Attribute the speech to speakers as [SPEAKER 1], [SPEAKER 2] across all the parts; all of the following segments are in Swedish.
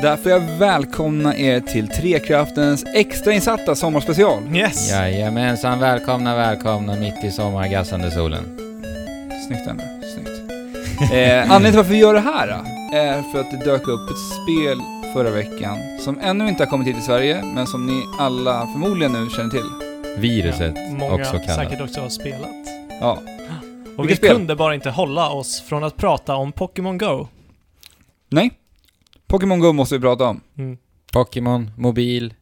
[SPEAKER 1] Där får jag välkomna er till Trekraftens extrainsatta sommarspecial.
[SPEAKER 2] Yes!
[SPEAKER 3] Jajamensan, välkomna, välkomna mitt i sommargassande solen.
[SPEAKER 1] Snyggt ändå, snyggt. Eh, anledningen till varför vi gör det här eh, är för att det dök upp ett spel förra veckan som ännu inte har kommit hit till Sverige, men som ni alla förmodligen nu känner till.
[SPEAKER 3] Viruset,
[SPEAKER 2] Eh, Många
[SPEAKER 3] också kallat.
[SPEAKER 2] säkert också har spelat.
[SPEAKER 1] Ja,
[SPEAKER 2] Och vi
[SPEAKER 1] Vilket spel?
[SPEAKER 2] kunde bara inte hålla oss från att prata om Pokémon Go.
[SPEAKER 1] nej. Pokémon Go måste vi prata om.
[SPEAKER 2] Mm.
[SPEAKER 3] Pokémon, mobil,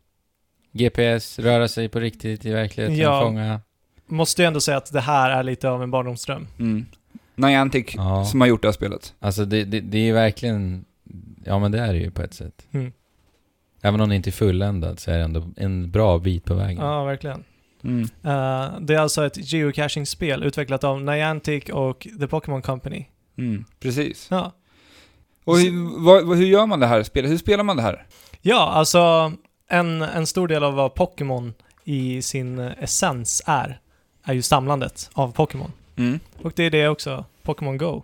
[SPEAKER 3] GPS, röra sig på riktigt i verkligheten,
[SPEAKER 2] Ja.
[SPEAKER 3] fånga.
[SPEAKER 2] Måste ju ändå säga att det här är lite av en barndomsdröm.
[SPEAKER 1] Mm. Niantic
[SPEAKER 3] Ja.
[SPEAKER 1] som har gjort det här spelet.
[SPEAKER 3] Alltså det, det, det är verkligen, ja men det är det ju på ett sätt.
[SPEAKER 2] Mm.
[SPEAKER 3] Även om det inte är fulländat så är det ändå en bra bit på vägen.
[SPEAKER 2] Ja, verkligen.
[SPEAKER 1] Mm.
[SPEAKER 2] Eh, det är alltså ett geocaching-spel utvecklat av Niantic och The Pokémon Company.
[SPEAKER 1] Mm. Precis.
[SPEAKER 2] Ja.
[SPEAKER 1] Och hur, vad, vad- hur gör man det här spelet? Hur spelar man det här?
[SPEAKER 2] Ja, alltså en, en stor del av vad Pokémon i sin essens är, är ju samlandet av Pokémon.
[SPEAKER 1] Mm.
[SPEAKER 2] Och det är det också Pokémon Go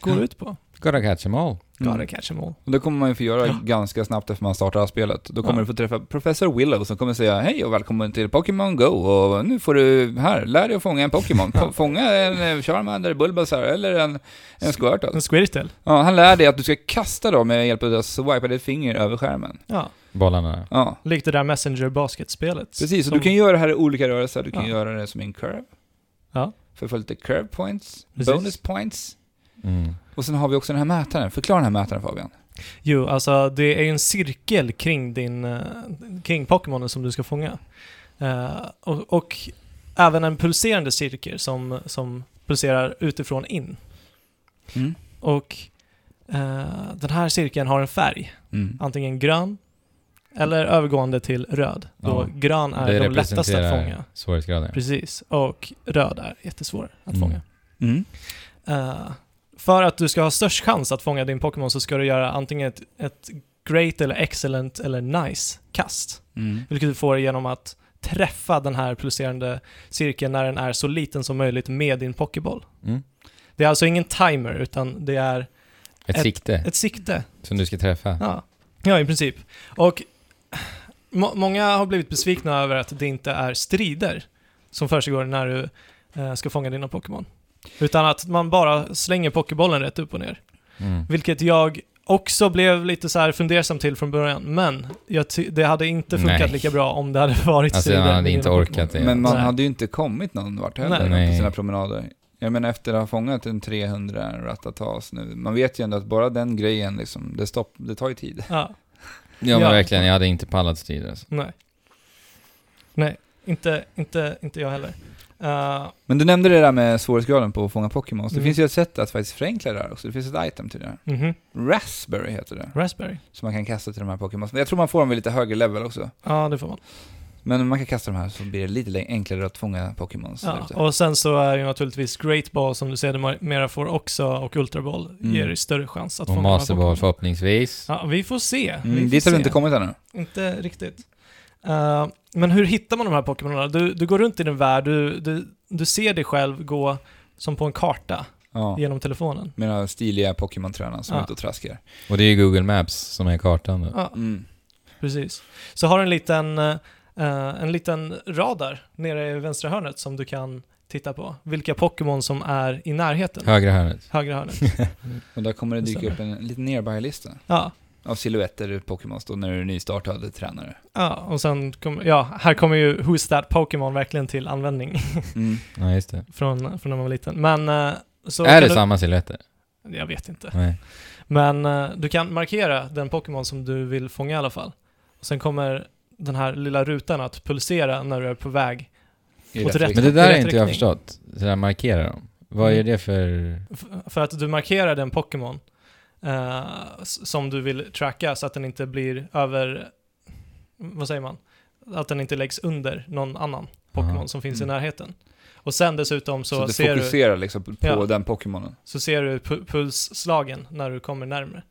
[SPEAKER 2] går ut på.
[SPEAKER 3] Gotta catch 'em all.
[SPEAKER 2] Gotta catch 'em all.
[SPEAKER 1] Och det kommer man ju få göra
[SPEAKER 2] Ja.
[SPEAKER 1] ganska snabbt efter man startar det här spelet. Då kommer
[SPEAKER 2] Ja.
[SPEAKER 1] du få träffa Professor Willow som kommer säga hej och välkommen till Pokémon Go och nu får du här, lär dig att fånga en Pokémon. Få- Fånga en eh, Charmander, Bulbasaur eller en, en Squirtle.
[SPEAKER 2] En Squirtle.
[SPEAKER 1] Ja, han lär dig att du ska kasta dem med hjälp av att swipa ditt finger över skärmen.
[SPEAKER 2] Ja,
[SPEAKER 3] Bollarna.
[SPEAKER 1] Ja,
[SPEAKER 2] likt det där Messenger Basket-spelet.
[SPEAKER 1] precis. Och
[SPEAKER 2] Som-
[SPEAKER 1] du kan göra det här i olika rörelser. Du kan
[SPEAKER 2] Ja.
[SPEAKER 1] göra det som en curve.
[SPEAKER 2] Ja.
[SPEAKER 1] För att få lite curve points,
[SPEAKER 2] Precis.
[SPEAKER 1] bonus points.
[SPEAKER 3] Mm.
[SPEAKER 1] Och sen har vi också den här mätaren. Förklara den här mätaren Fabian.
[SPEAKER 2] Jo, alltså det är ju en cirkel kring din, eh, kring Pokémonen som du ska fånga. Eh, och, och även en pulserande cirkel som, som pulserar utifrån in.
[SPEAKER 1] Mm.
[SPEAKER 2] Och eh, den här cirkeln har en färg,
[SPEAKER 1] Mm.
[SPEAKER 2] antingen grön eller övergående till röd. Då
[SPEAKER 3] Ja,
[SPEAKER 2] grön är
[SPEAKER 3] det
[SPEAKER 2] de lättaste att
[SPEAKER 3] representerar
[SPEAKER 2] fånga.
[SPEAKER 3] svårighetsgraden.
[SPEAKER 2] Precis, och röd är jättesvår att
[SPEAKER 3] Mm.
[SPEAKER 2] fånga.
[SPEAKER 1] Mm.
[SPEAKER 2] Eh, för att du ska ha störst chans att fånga din Pokémon så ska du göra antingen ett, ett great eller excellent eller nice kast.
[SPEAKER 1] Mm.
[SPEAKER 2] Vilket du får genom att träffa den här pulserande cirkeln när den är så liten som möjligt med din Pokéboll.
[SPEAKER 3] Mm.
[SPEAKER 2] Det är alltså ingen timer utan det är
[SPEAKER 3] Ett,
[SPEAKER 2] Ett-
[SPEAKER 3] sikte
[SPEAKER 2] ett sikte.
[SPEAKER 3] som du ska träffa.
[SPEAKER 2] Ja, ja i princip. Och må många har blivit besvikna över att det inte är strider som försiggår när du eh, ska fånga dina Pokémon. Utan att man bara slänger Pokébollen rätt upp och ner.
[SPEAKER 3] Mm.
[SPEAKER 2] Vilket jag också blev lite så här fundersam till från början, men jag ty- det hade inte funkat
[SPEAKER 3] Nej.
[SPEAKER 2] lika bra om det hade varit
[SPEAKER 3] Alltså,
[SPEAKER 2] strider
[SPEAKER 3] han hade
[SPEAKER 2] med
[SPEAKER 3] inte
[SPEAKER 2] dina
[SPEAKER 3] orkat
[SPEAKER 2] Pokémon.
[SPEAKER 3] det.
[SPEAKER 1] Men man
[SPEAKER 2] Nej.
[SPEAKER 1] hade ju inte kommit någon vart heller
[SPEAKER 3] Nej.
[SPEAKER 1] på sina promenader. Jag menar efter att ha fångat en 300 ratatas nu, man vet ju ändå att bara den grejen liksom, det, stopp, det tar ju tid.
[SPEAKER 2] Ja,
[SPEAKER 3] Ja,
[SPEAKER 2] Ja.
[SPEAKER 3] men verkligen, jag hade inte pallat strider alltså.
[SPEAKER 2] nej. Nej, inte, inte, inte jag heller. Eh,
[SPEAKER 1] Men du nämnde det där med svårighetsgraden på att fånga Pokémon, så det
[SPEAKER 2] Mm.
[SPEAKER 1] finns ju ett sätt att faktiskt förenkla det här också. Det finns ett item till det här.
[SPEAKER 2] mhm.
[SPEAKER 1] Raspberry heter det,
[SPEAKER 2] Raspberry.
[SPEAKER 1] som man kan kasta till de här Pokémon. Jag tror man får dem vid lite högre level också.
[SPEAKER 2] Ja, det får man.
[SPEAKER 1] Men man kan kasta de här så blir det lite läng- enklare att fånga Pokémon. där
[SPEAKER 2] Ja,
[SPEAKER 1] ute.
[SPEAKER 2] och sen så är ju naturligtvis Great Ball som du sedermera får också och Ultra Ball
[SPEAKER 1] Mm.
[SPEAKER 2] ger dig större chans att
[SPEAKER 3] Och
[SPEAKER 2] fånga de här
[SPEAKER 3] masterball
[SPEAKER 2] Pokémon.
[SPEAKER 3] förhoppningsvis.
[SPEAKER 2] Ja, vi får se. vi
[SPEAKER 1] Mm,
[SPEAKER 2] får
[SPEAKER 1] dit har vi
[SPEAKER 2] se.
[SPEAKER 1] inte kommit ännu.
[SPEAKER 2] Inte riktigt. Eh, men hur hittar man de här Pokémonerna? Du, du går runt i din värld, du, du, du ser dig själv gå som på en karta
[SPEAKER 1] Ja.
[SPEAKER 2] genom telefonen.
[SPEAKER 1] Mina stiliga Pokémon-tränare som
[SPEAKER 2] Ja.
[SPEAKER 1] är ute och traskar.
[SPEAKER 3] Och det är ju Google Maps som är kartan då.
[SPEAKER 2] Ja,
[SPEAKER 1] Mm.
[SPEAKER 2] precis. Så har du en liten, eh, en liten radar nere i vänstra hörnet som du kan titta på. Vilka Pokémon som är i närheten.
[SPEAKER 3] Högra hörnet.
[SPEAKER 2] Högra hörnet.
[SPEAKER 1] Och där kommer det
[SPEAKER 2] Det
[SPEAKER 1] dyka upp en liten nearby-lista.
[SPEAKER 2] Ja,
[SPEAKER 1] av silhuetter ur Pokémons då när du är nystartad tränare.
[SPEAKER 2] ja och sen kom, ja, här kommer ju Who's That Pokémon verkligen till användning
[SPEAKER 1] Mm.
[SPEAKER 3] Ja, just det.
[SPEAKER 2] från, från när man var liten. Men eh, så
[SPEAKER 3] är
[SPEAKER 2] kan
[SPEAKER 3] det
[SPEAKER 2] du,
[SPEAKER 3] samma silhuetter?
[SPEAKER 2] Jag vet inte.
[SPEAKER 3] Nej.
[SPEAKER 2] Men eh, du kan markera den Pokémon som du vill fånga i alla fall. Och sen kommer den här lilla rutan att pulsera när du är på väg.
[SPEAKER 1] I
[SPEAKER 2] Och till
[SPEAKER 1] rätt
[SPEAKER 2] rätt-
[SPEAKER 1] riktning.
[SPEAKER 3] Men det
[SPEAKER 2] I
[SPEAKER 3] där
[SPEAKER 2] rätt
[SPEAKER 3] har inte
[SPEAKER 2] riktning.
[SPEAKER 3] jag förstått. Så där markera dem. Vad
[SPEAKER 2] Mm.
[SPEAKER 3] är det för...
[SPEAKER 2] F- för att du markerar den Pokémon eh, s- som du vill tracka så att den inte blir över, vad säger man? Att den inte läggs under någon annan Pokémon
[SPEAKER 3] Aha.
[SPEAKER 2] som finns
[SPEAKER 1] Mm.
[SPEAKER 2] i närheten. Och sen dessutom så,
[SPEAKER 1] Så, du
[SPEAKER 2] ser, du,
[SPEAKER 1] fokuserar liksom på
[SPEAKER 2] Ja.
[SPEAKER 1] den Pokémonen.
[SPEAKER 2] så ser du pu- pulsslagen när du kommer närmare.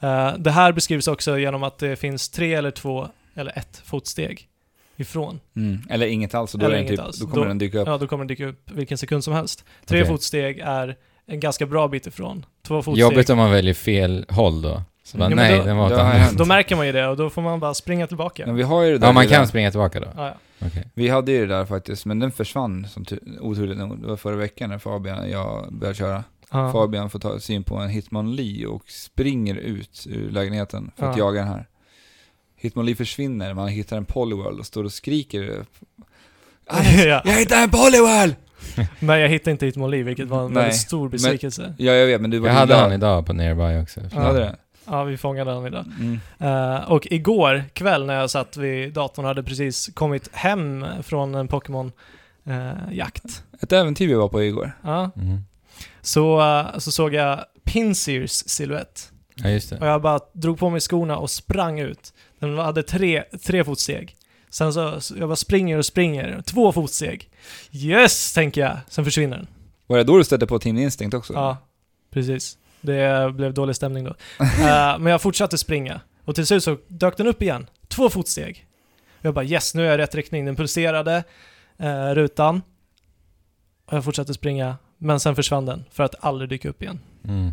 [SPEAKER 2] Eh, det här beskrivs också genom att det finns tre eller två eller ett fotsteg ifrån
[SPEAKER 1] Eller inget alls, och då,
[SPEAKER 2] Mm. Eller
[SPEAKER 1] är den
[SPEAKER 2] inget
[SPEAKER 1] typ,
[SPEAKER 2] alls.
[SPEAKER 1] då kommer
[SPEAKER 2] Då-
[SPEAKER 1] den dyka upp.
[SPEAKER 2] Ja, då kommer det dyka upp vilken sekund som helst. Tre
[SPEAKER 3] Okej.
[SPEAKER 2] fotsteg är en ganska bra bit ifrån. Två fotsteg.
[SPEAKER 3] Jobbigt om man väljer fel håll då. Så bara,
[SPEAKER 2] Jo, men
[SPEAKER 3] nej,
[SPEAKER 2] då-
[SPEAKER 3] den var åt
[SPEAKER 1] då har
[SPEAKER 3] andra
[SPEAKER 1] jag-
[SPEAKER 2] Då märker man ju det och då får man bara springa tillbaka.
[SPEAKER 1] Men vi har ju det där
[SPEAKER 3] Ja, man
[SPEAKER 1] lilla-
[SPEAKER 3] kan springa tillbaka då.
[SPEAKER 2] Ja, ja.
[SPEAKER 3] Okej.
[SPEAKER 1] Vi hade ju det där faktiskt, men den försvann som tu- oturligt nog. Det var förra veckan när Fabian och jag började köra.
[SPEAKER 2] Ja.
[SPEAKER 1] Fabian får ta syn på en Hitman Lee och springer ut ur lägenheten för att
[SPEAKER 2] Ja.
[SPEAKER 1] jaga den här. Hitman Lee försvinner, man hittar en Polyworld och står och skriker. Alex,
[SPEAKER 2] Ja.
[SPEAKER 1] jag hittade en Polyworld!
[SPEAKER 2] Men jag hittade inte Hitmon Lee, vilket var en
[SPEAKER 1] Nej,
[SPEAKER 2] väldigt stor besvikelse.
[SPEAKER 1] Ja, jag vet, men du var
[SPEAKER 3] Jag hade
[SPEAKER 1] där.
[SPEAKER 3] han idag på Nearby också.
[SPEAKER 1] Du hade det?
[SPEAKER 2] Ja, vi fångade honom idag.
[SPEAKER 1] Mm.
[SPEAKER 2] Eh, och igår kväll när jag satt vid datorn hade precis kommit hem från en Pokémon-jakt.
[SPEAKER 1] Ett äventyr vi var på igår.
[SPEAKER 2] ja.
[SPEAKER 3] Mhm.
[SPEAKER 2] så, eh, så såg jag Pinseers silhuett.
[SPEAKER 3] Ja, just det.
[SPEAKER 2] Och jag bara drog på mig skorna och sprang ut. Den hade tre, tre fotsteg. Sen så, så jag bara springer och springer. Två fotsteg. Yes, tänker jag. Sen försvinner den.
[SPEAKER 1] Var det då du stötte på Team Instinct också?
[SPEAKER 2] Ja, precis. Det blev dålig stämning då. Eh, men jag fortsatte springa och till slut så dök den upp igen. Två fotsteg. Jag bara yes, nu är jag i rätt riktning. Den pulserade eh, rutan och jag fortsatte springa. Men sen försvann den för att aldrig dyka upp igen.
[SPEAKER 3] Mm.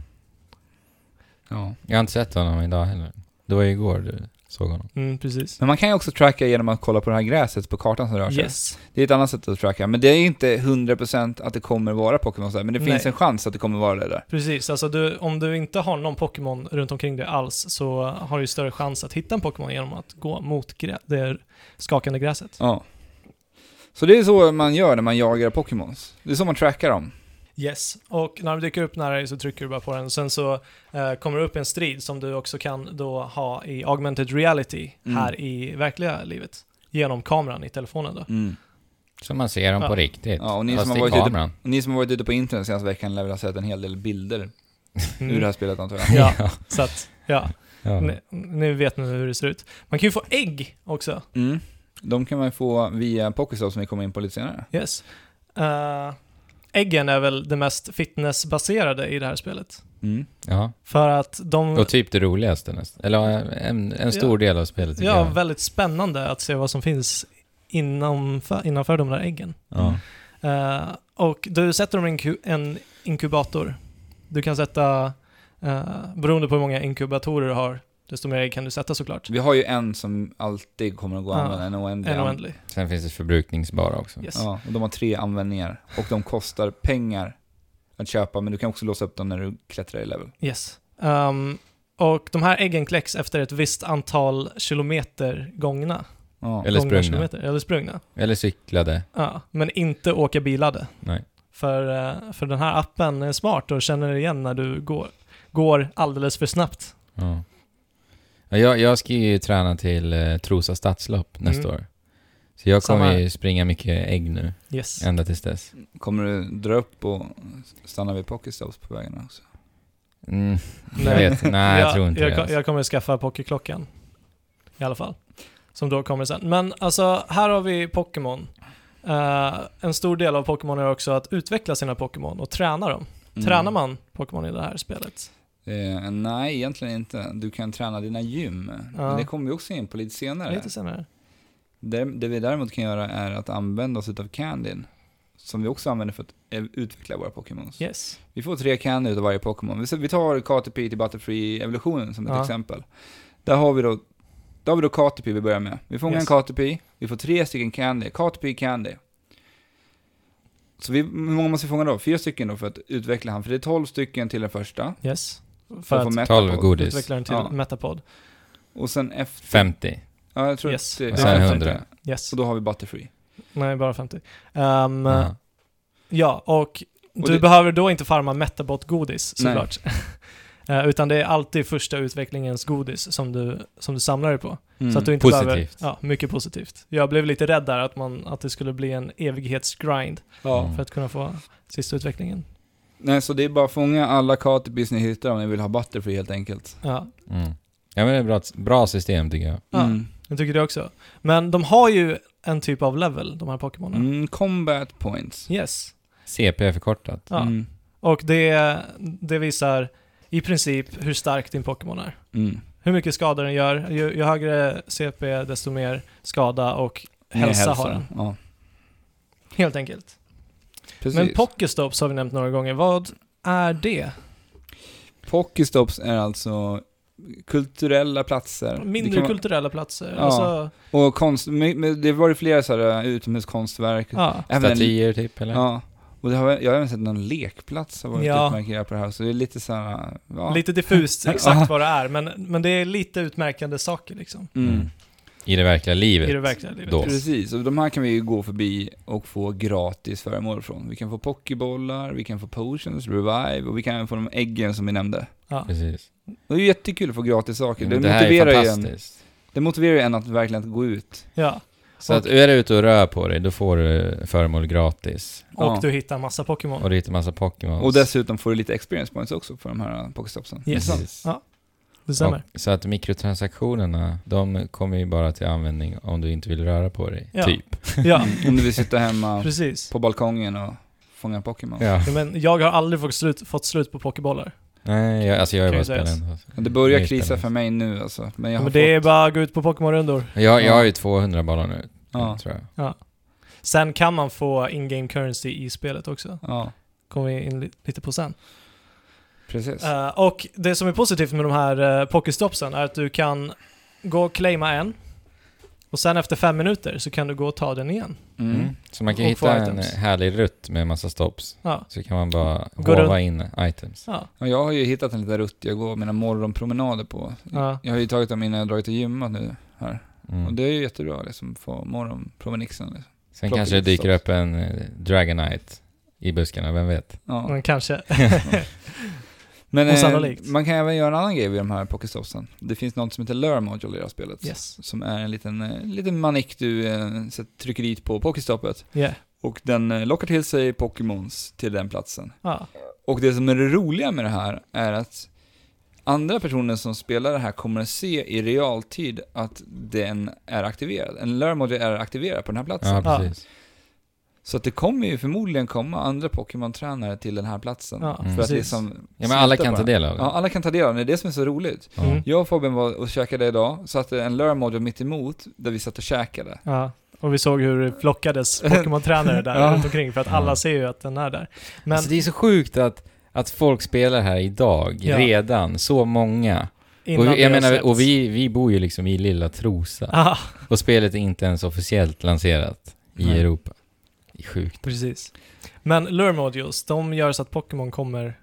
[SPEAKER 1] ja.
[SPEAKER 3] Jag har inte sett honom idag heller. Det var ju igår du såg honom.
[SPEAKER 2] Mm, precis.
[SPEAKER 1] Men man kan ju också tracka genom att kolla på det här gräset på kartan som rör sig.
[SPEAKER 2] Yes.
[SPEAKER 1] Det är ett annat sätt att tracka, men det är inte 100% att det kommer vara Pokémon så här, men det finns
[SPEAKER 2] Nej.
[SPEAKER 1] en chans att det kommer vara det där.
[SPEAKER 2] Precis, alltså du, om du inte har någon Pokémon runt omkring dig alls så har du ju större chans att hitta en Pokémon genom att gå mot grä- det skakande gräset.
[SPEAKER 1] Ja. Så det är så man gör när man jagar Pokémons. Det är så man trackar dem.
[SPEAKER 2] Yes, och när de dyker upp nära dig så trycker du bara på den. Sen så eh, kommer det upp en strid som du också kan då ha i augmented reality
[SPEAKER 1] Mm.
[SPEAKER 2] här i verkliga livet. Genom kameran i telefonen då.
[SPEAKER 3] Så man ser dem
[SPEAKER 2] Ja.
[SPEAKER 3] på riktigt.
[SPEAKER 1] Ja, och ni
[SPEAKER 3] Fast
[SPEAKER 1] som har
[SPEAKER 3] i
[SPEAKER 1] varit ute-
[SPEAKER 3] kameran.
[SPEAKER 1] Och ni som har varit ute på internet senaste veckan lär väl ha sett en hel del bilder
[SPEAKER 2] Mm.
[SPEAKER 1] ur det här spelet antar jag.
[SPEAKER 2] Ja, så att, ja.
[SPEAKER 3] Ja.
[SPEAKER 2] Ni, ni vet nu hur det ser ut. Man kan ju få ägg också.
[SPEAKER 1] Mm. De kan man ju få via Pokéstop som vi kommer in på lite senare.
[SPEAKER 2] Yes. Eh, äggen är väl det mest fitnessbaserade i det här spelet.
[SPEAKER 1] Mm.
[SPEAKER 3] ja.
[SPEAKER 2] För att de...
[SPEAKER 3] Och typ det roligaste nästan. Eller eh, en, en stor del av spelet tycker
[SPEAKER 2] Ja,
[SPEAKER 3] jag.
[SPEAKER 2] väldigt spännande att se vad som finns innanför, innanför de där äggen.
[SPEAKER 3] Ja.
[SPEAKER 2] Eh, och du sätter dem i en ku- en inkubator. Du kan sätta, eh, beroende på hur många inkubatorer du har, desto mer ägg kan du sätta såklart.
[SPEAKER 1] Vi har ju en som alltid kommer att gå att
[SPEAKER 2] Ja.
[SPEAKER 1] använda, en oändlig.
[SPEAKER 2] En oändlig.
[SPEAKER 3] Sen finns det förbrukningsbara också.
[SPEAKER 2] Yes.
[SPEAKER 1] Mm, Ja, och de har tre användningar. Och de kostar pengar att köpa, men du kan också låsa upp dem när du klättrar i level.
[SPEAKER 2] yes. Ehm, och de här äggen kläcks efter ett visst antal kilometer gångna.
[SPEAKER 1] Ja.
[SPEAKER 3] Eller
[SPEAKER 2] Gångna
[SPEAKER 3] sprungna.
[SPEAKER 2] Kilometer, eller sprungna.
[SPEAKER 3] Eller cyklade.
[SPEAKER 2] Ja, men inte åka bilade.
[SPEAKER 3] Nej.
[SPEAKER 2] För, eh, för den här appen är smart och känner igen när du går, går alldeles för snabbt.
[SPEAKER 3] Ja. Ja, Jag, jag ska ju träna till eh, Trosa stadslopp nästa
[SPEAKER 2] Mm.
[SPEAKER 3] år. Så jag
[SPEAKER 2] Samma
[SPEAKER 3] kommer
[SPEAKER 2] här.
[SPEAKER 3] ju springa mycket ägg nu,
[SPEAKER 2] Yes.
[SPEAKER 3] ända tills dess.
[SPEAKER 1] Kommer du dra upp och stanna vid Pokéstops på vägen också?
[SPEAKER 3] Mm. Jag
[SPEAKER 2] Nej.
[SPEAKER 3] vet, nej jag tror inte
[SPEAKER 2] jag,
[SPEAKER 3] det.
[SPEAKER 2] Jag,
[SPEAKER 3] alltså.
[SPEAKER 2] jag kommer skaffa pokerklockan. I alla fall. Som då kommer sen. Men alltså, här har vi Pokémon. Eh, en stor del av Pokémon är också att utveckla sina Pokémon och träna dem.
[SPEAKER 1] Mm.
[SPEAKER 2] Tränar man Pokémon i det här spelet?
[SPEAKER 1] Eh, nej, egentligen inte. Du kan träna dina gym.
[SPEAKER 2] Ja.
[SPEAKER 1] Men det kommer vi också in på lite senare.
[SPEAKER 2] Lite senare.
[SPEAKER 1] Där- Det vi däremot kan göra är att använda oss av Candyn. Som vi också använder för att eh, utveckla våra Pokémons.
[SPEAKER 2] Yes.
[SPEAKER 1] Vi får tre candy utav varje Pokémon. Vi- Vi tar Caterpie till Butterfree-evolutionen som ett
[SPEAKER 2] Ja.
[SPEAKER 1] exempel. Där har vi då där har vi då Caterpie vi börjar med. Vi fångar
[SPEAKER 2] Yes.
[SPEAKER 1] en Caterpie, vi får tre stycken Candy. Caterpie Candy. Så vi, hur många måste vi fånga då? Fyra stycken då för att utveckla han. För det är tolv stycken till den första.
[SPEAKER 2] Yes.
[SPEAKER 1] För
[SPEAKER 2] För
[SPEAKER 1] att få
[SPEAKER 2] att
[SPEAKER 1] Metapod.
[SPEAKER 3] 12 godis,
[SPEAKER 2] utveckla den till
[SPEAKER 1] Ja.
[SPEAKER 2] Metapod.
[SPEAKER 1] Och sen efter...
[SPEAKER 3] 50.
[SPEAKER 1] Ja, jag tror
[SPEAKER 2] Yes.
[SPEAKER 1] att det,
[SPEAKER 2] Och
[SPEAKER 1] det
[SPEAKER 2] sen
[SPEAKER 1] är
[SPEAKER 3] 100.
[SPEAKER 1] 50.
[SPEAKER 2] Yes.
[SPEAKER 1] Och då har vi Butterfree.
[SPEAKER 2] Nej, bara 50. Ehm,
[SPEAKER 3] Ja.
[SPEAKER 2] Ja, och du
[SPEAKER 1] det-
[SPEAKER 2] behöver då inte farma Metabot-godis
[SPEAKER 1] Nej.
[SPEAKER 2] såklart. Eh, Utan det är alltid första utvecklingens godis som du, som du samlar dig på. Så att du inte
[SPEAKER 1] Mm.
[SPEAKER 3] Positivt.
[SPEAKER 2] Behöver, ja, mycket positivt. Jag blev lite rädd där att, man, att det skulle bli en evighetsgrind
[SPEAKER 1] Ja.
[SPEAKER 3] Mm.
[SPEAKER 2] för att kunna få sista utvecklingen.
[SPEAKER 1] Nej, så det är bara att fånga alla Caterpies ni hittar om ni vill ha Butterfree helt enkelt.
[SPEAKER 2] Ja,
[SPEAKER 3] Mm. Ja men det är bra, bra system tycker jag.
[SPEAKER 2] Ja.
[SPEAKER 1] Mm.
[SPEAKER 2] jag tycker det också. Men de har ju en typ av level, de här Pokémonen.
[SPEAKER 1] Mm, combat points.
[SPEAKER 2] Yes.
[SPEAKER 3] CP är förkortat.
[SPEAKER 2] Ja.
[SPEAKER 1] Mm.
[SPEAKER 2] Och det, det visar i princip hur stark din Pokémon är.
[SPEAKER 1] Mm.
[SPEAKER 2] Hur mycket skada den gör. Ju, ju högre CP, desto mer skada och
[SPEAKER 1] Mer
[SPEAKER 2] hälsa, har den.
[SPEAKER 1] Ja,
[SPEAKER 2] Helt enkelt.
[SPEAKER 1] precis.
[SPEAKER 2] Men Pokestops har vi nämnt några gånger. Vad är det?
[SPEAKER 1] Pokestops är alltså kulturella platser. Det
[SPEAKER 2] Mindre
[SPEAKER 1] kan vara-
[SPEAKER 2] kulturella platser.
[SPEAKER 1] Ja.
[SPEAKER 2] Alltså,
[SPEAKER 1] Och konst, men- men det var ju flera så här eh, utomhuskonstverk.
[SPEAKER 2] ja.
[SPEAKER 1] Även en-
[SPEAKER 3] Statyer typ eller?
[SPEAKER 1] Ja. Och det har, jag jag har även sett någon lekplats har varit
[SPEAKER 2] Ja.
[SPEAKER 1] utmärkt på det här, så det är lite så här, eh, ja.
[SPEAKER 2] Lite diffust exakt vad det är, men, men det är lite utmärkande saker liksom.
[SPEAKER 1] Mm.
[SPEAKER 3] Mm. I det verkliga livet.
[SPEAKER 2] I det verkliga livet.
[SPEAKER 3] Då.
[SPEAKER 1] Precis, och de här kan vi ju gå förbi och få gratis föremål från. Vi kan få pokébollar, vi kan få potions, revive och vi kan även få de äggen som vi nämnde.
[SPEAKER 2] Ja.
[SPEAKER 3] Precis.
[SPEAKER 1] Det är ju jättekul att få gratis saker.
[SPEAKER 3] Men
[SPEAKER 1] Det,
[SPEAKER 3] det här
[SPEAKER 1] motiverar
[SPEAKER 3] är
[SPEAKER 1] ju en,
[SPEAKER 3] fantastiskt.
[SPEAKER 1] det motiverar ju en att verkligen gå ut.
[SPEAKER 2] Ja.
[SPEAKER 3] Så att är du ute och rör på dig, då får du föremål gratis.
[SPEAKER 2] Och
[SPEAKER 1] Ja.
[SPEAKER 2] du hittar massa Pokémon.
[SPEAKER 3] Och du hittar massa Pokémon.
[SPEAKER 1] Och dessutom får du lite experience points också för de här pokestopsen.
[SPEAKER 2] Yes.
[SPEAKER 3] Precis.
[SPEAKER 2] Ja, Det stämmer.
[SPEAKER 3] Och, så att mikrotransaktionerna, de kommer ju bara till användning om du inte vill röra på dig.
[SPEAKER 2] Ja.
[SPEAKER 3] Typ.
[SPEAKER 2] Ja,
[SPEAKER 1] Mm. Om du vill sitta hemma
[SPEAKER 2] precis.
[SPEAKER 1] på balkongen och fånga Pokémon.
[SPEAKER 3] Ja.
[SPEAKER 2] Ja, Men jag har aldrig fått slut, fått slut på Pokébollar.
[SPEAKER 3] Nej, jag, alltså jag är
[SPEAKER 2] Kan
[SPEAKER 3] bara
[SPEAKER 2] ju sägas.
[SPEAKER 3] spelande. Alltså.
[SPEAKER 1] Men Det börjar
[SPEAKER 3] Nytt
[SPEAKER 1] krisa
[SPEAKER 3] eller-
[SPEAKER 1] för mig nu alltså. Men jag
[SPEAKER 2] Ja,
[SPEAKER 1] har
[SPEAKER 2] men det är
[SPEAKER 1] fått...
[SPEAKER 2] bara att gå ut på Pokémon-rundor.
[SPEAKER 3] Jag,
[SPEAKER 1] Ja.
[SPEAKER 3] jag har ju 200 bollar nu,
[SPEAKER 1] Ja.
[SPEAKER 3] tror jag.
[SPEAKER 2] Sen kan man få in-game currency i spelet också.
[SPEAKER 1] ja,
[SPEAKER 2] Kommer vi in li- lite på sen.
[SPEAKER 1] precis.
[SPEAKER 2] Eh, och det som är positivt med de här uh, Pokéstopsen är att du kan gå och claima en. Och sen efter fem minuter så kan du gå och ta den igen.
[SPEAKER 1] Mm.
[SPEAKER 3] Mm. Så man kan
[SPEAKER 2] Och få
[SPEAKER 3] hitta en
[SPEAKER 2] items.
[SPEAKER 3] härlig rutt med massa stops.
[SPEAKER 2] Ja.
[SPEAKER 3] Så kan man bara
[SPEAKER 2] Gå
[SPEAKER 3] hova in items.
[SPEAKER 2] Ja.
[SPEAKER 1] Ja, jag har ju hittat en liten rutt jag går mina morgonpromenader på.
[SPEAKER 2] Ja.
[SPEAKER 1] Jag har ju tagit dem innan jag dragit till gymmet nu här. Och
[SPEAKER 3] Mm.
[SPEAKER 1] det är ju jättebra liksom, få morgonpromenixen. Liksom.
[SPEAKER 3] Sen
[SPEAKER 1] plocka
[SPEAKER 3] kanske det
[SPEAKER 1] lite
[SPEAKER 3] dyker
[SPEAKER 1] stops.
[SPEAKER 3] upp en eh, Dragonite i buskarna, vem vet?
[SPEAKER 1] Ja.
[SPEAKER 2] Men kanske.
[SPEAKER 1] Men eh,
[SPEAKER 2] Osannolikt.
[SPEAKER 1] man kan även göra en annan grej vid de här pocketstopsen. Det finns något som heter Lure Module i det här spelet.
[SPEAKER 2] Yes.
[SPEAKER 1] Som är en liten, eh, liten manik du eh, sätter- trycker dit på pocketstoppet.
[SPEAKER 2] Yeah.
[SPEAKER 1] Och den eh, lockar till sig Pokémons till den platsen.
[SPEAKER 2] Ja.
[SPEAKER 1] Och det som är det roliga med det här är att andra personer som spelar det här kommer att se i realtid att den är aktiverad. En lure module är aktiverad på den här platsen.
[SPEAKER 3] Ja,
[SPEAKER 2] Ja.
[SPEAKER 3] precis.
[SPEAKER 1] Så att det kommer ju förmodligen komma andra Pokémon-tränare till den här platsen.
[SPEAKER 2] Ja,
[SPEAKER 1] För att
[SPEAKER 2] precis.
[SPEAKER 1] liksom
[SPEAKER 3] Ja, men alla
[SPEAKER 1] snutta
[SPEAKER 3] kan
[SPEAKER 1] på
[SPEAKER 3] ta
[SPEAKER 1] den.
[SPEAKER 3] del av det.
[SPEAKER 1] Ja, alla kan ta del av den. Det är det som är så roligt.
[SPEAKER 3] Ja.
[SPEAKER 2] Mm.
[SPEAKER 1] Jag och Fabian var och käkade idag, satte en lure module mitt emot där vi satt och käkade.
[SPEAKER 2] Ja. Och vi såg hur det flockades Pokémon-tränare där
[SPEAKER 1] Ja.
[SPEAKER 2] runt omkring för att alla
[SPEAKER 3] Ja.
[SPEAKER 2] ser ju att den är där. Men
[SPEAKER 3] Alltså det är så sjukt att, att folk spelar här idag,
[SPEAKER 2] Ja.
[SPEAKER 3] redan, så många.
[SPEAKER 2] innan
[SPEAKER 3] Och,
[SPEAKER 2] det
[SPEAKER 3] vi- jag
[SPEAKER 2] har
[SPEAKER 3] menar,
[SPEAKER 2] släppts-
[SPEAKER 3] och vi, vi bor ju liksom i lilla Trosa.
[SPEAKER 2] Ja,
[SPEAKER 3] Och spelet är inte ens officiellt lanserat i
[SPEAKER 1] Nej.
[SPEAKER 3] Europa. Det är sjukt.
[SPEAKER 2] precis. Men Lure Modules, de gör så att Pokémon kommer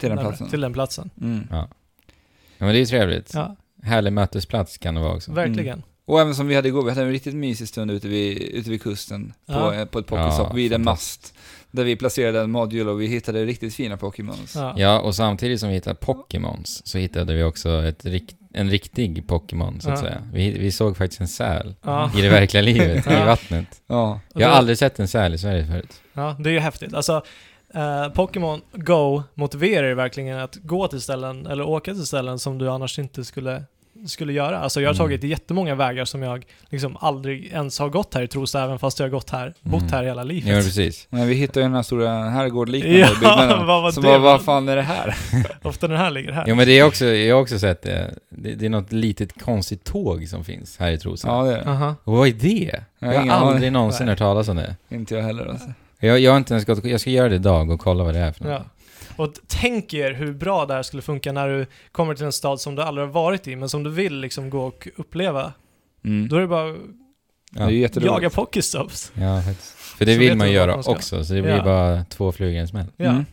[SPEAKER 1] Till den
[SPEAKER 2] närmare-
[SPEAKER 1] platsen.
[SPEAKER 2] till den platsen.
[SPEAKER 1] Mm.
[SPEAKER 3] Ja, men det är trevligt.
[SPEAKER 2] Ja,
[SPEAKER 3] Härlig mötesplats kan det vara också.
[SPEAKER 2] verkligen.
[SPEAKER 1] Och även som vi hade igår, vi hade en riktigt mysig stund ute vid, ute vid kusten på,
[SPEAKER 2] Ja.
[SPEAKER 1] eh, på ett pocketstopp
[SPEAKER 3] Ja,
[SPEAKER 1] vid en
[SPEAKER 3] fantastiskt.
[SPEAKER 1] mast. Där vi placerade en module och vi hittade riktigt fina Pokémons.
[SPEAKER 2] Ja.
[SPEAKER 3] Ja, och samtidigt som vi hittade Pokémons så hittade vi också ett rikt, en riktig Pokémon så att
[SPEAKER 2] Ja.
[SPEAKER 3] säga. Vi, vi såg faktiskt en säl
[SPEAKER 2] Ja.
[SPEAKER 3] i det verkliga livet,
[SPEAKER 2] Ja.
[SPEAKER 3] i vattnet.
[SPEAKER 1] Ja.
[SPEAKER 2] Och
[SPEAKER 3] Jag har
[SPEAKER 2] det-
[SPEAKER 3] aldrig sett en säl i Sverige förut.
[SPEAKER 2] Ja, det är ju häftigt. Alltså, eh, Pokémon Go motiverar ju verkligen att gå till ställen, eller åka till ställen som du annars inte skulle, skulle göra. Alltså jag har
[SPEAKER 3] Mm.
[SPEAKER 2] tagit jättemånga vägar som jag liksom aldrig ens har gått här i Trosa, även fast jag har gått här, bott
[SPEAKER 3] Mm.
[SPEAKER 2] här hela
[SPEAKER 3] Ja, men
[SPEAKER 2] livet.
[SPEAKER 3] precis.
[SPEAKER 1] Men vi hittade ju den här stora herrgårdliknande
[SPEAKER 2] Ja,
[SPEAKER 1] byggnaden.
[SPEAKER 2] vad var
[SPEAKER 1] Så
[SPEAKER 2] det?
[SPEAKER 1] bara, vad fan är det här?
[SPEAKER 2] Ofta den här ligger här.
[SPEAKER 3] Jo, men det är också, jag har också sett det. Det, det är något litet konstigt tåg som finns här i Trosa.
[SPEAKER 1] Ja, det är det.
[SPEAKER 2] Aha.
[SPEAKER 3] Och vad är det?
[SPEAKER 1] Jag har
[SPEAKER 3] Jag har
[SPEAKER 1] ingen aning.
[SPEAKER 3] aldrig någonsin
[SPEAKER 2] Nej.
[SPEAKER 3] hört talas om det.
[SPEAKER 1] Inte jag heller alltså.
[SPEAKER 3] Jag, jag har inte ens gått, jag ska göra det idag och kolla vad det är för något.
[SPEAKER 2] Ja. Och t- tänk er hur bra det här skulle funka när du kommer till en stad som du aldrig har varit i, men som du vill liksom gå och uppleva.
[SPEAKER 1] Mm.
[SPEAKER 2] Då är det bara att
[SPEAKER 1] Det är ju
[SPEAKER 2] jaga
[SPEAKER 1] jätteroligt.
[SPEAKER 2] Pokéstops.
[SPEAKER 3] Ja, faktiskt. För det
[SPEAKER 2] Så
[SPEAKER 3] vill
[SPEAKER 2] vet
[SPEAKER 3] man
[SPEAKER 2] du
[SPEAKER 3] ju
[SPEAKER 2] vad
[SPEAKER 3] göra
[SPEAKER 2] man ska.
[SPEAKER 3] också, så det blir
[SPEAKER 2] Ja.
[SPEAKER 3] bara två flugor i en smäll.
[SPEAKER 2] Ja.
[SPEAKER 1] Mm.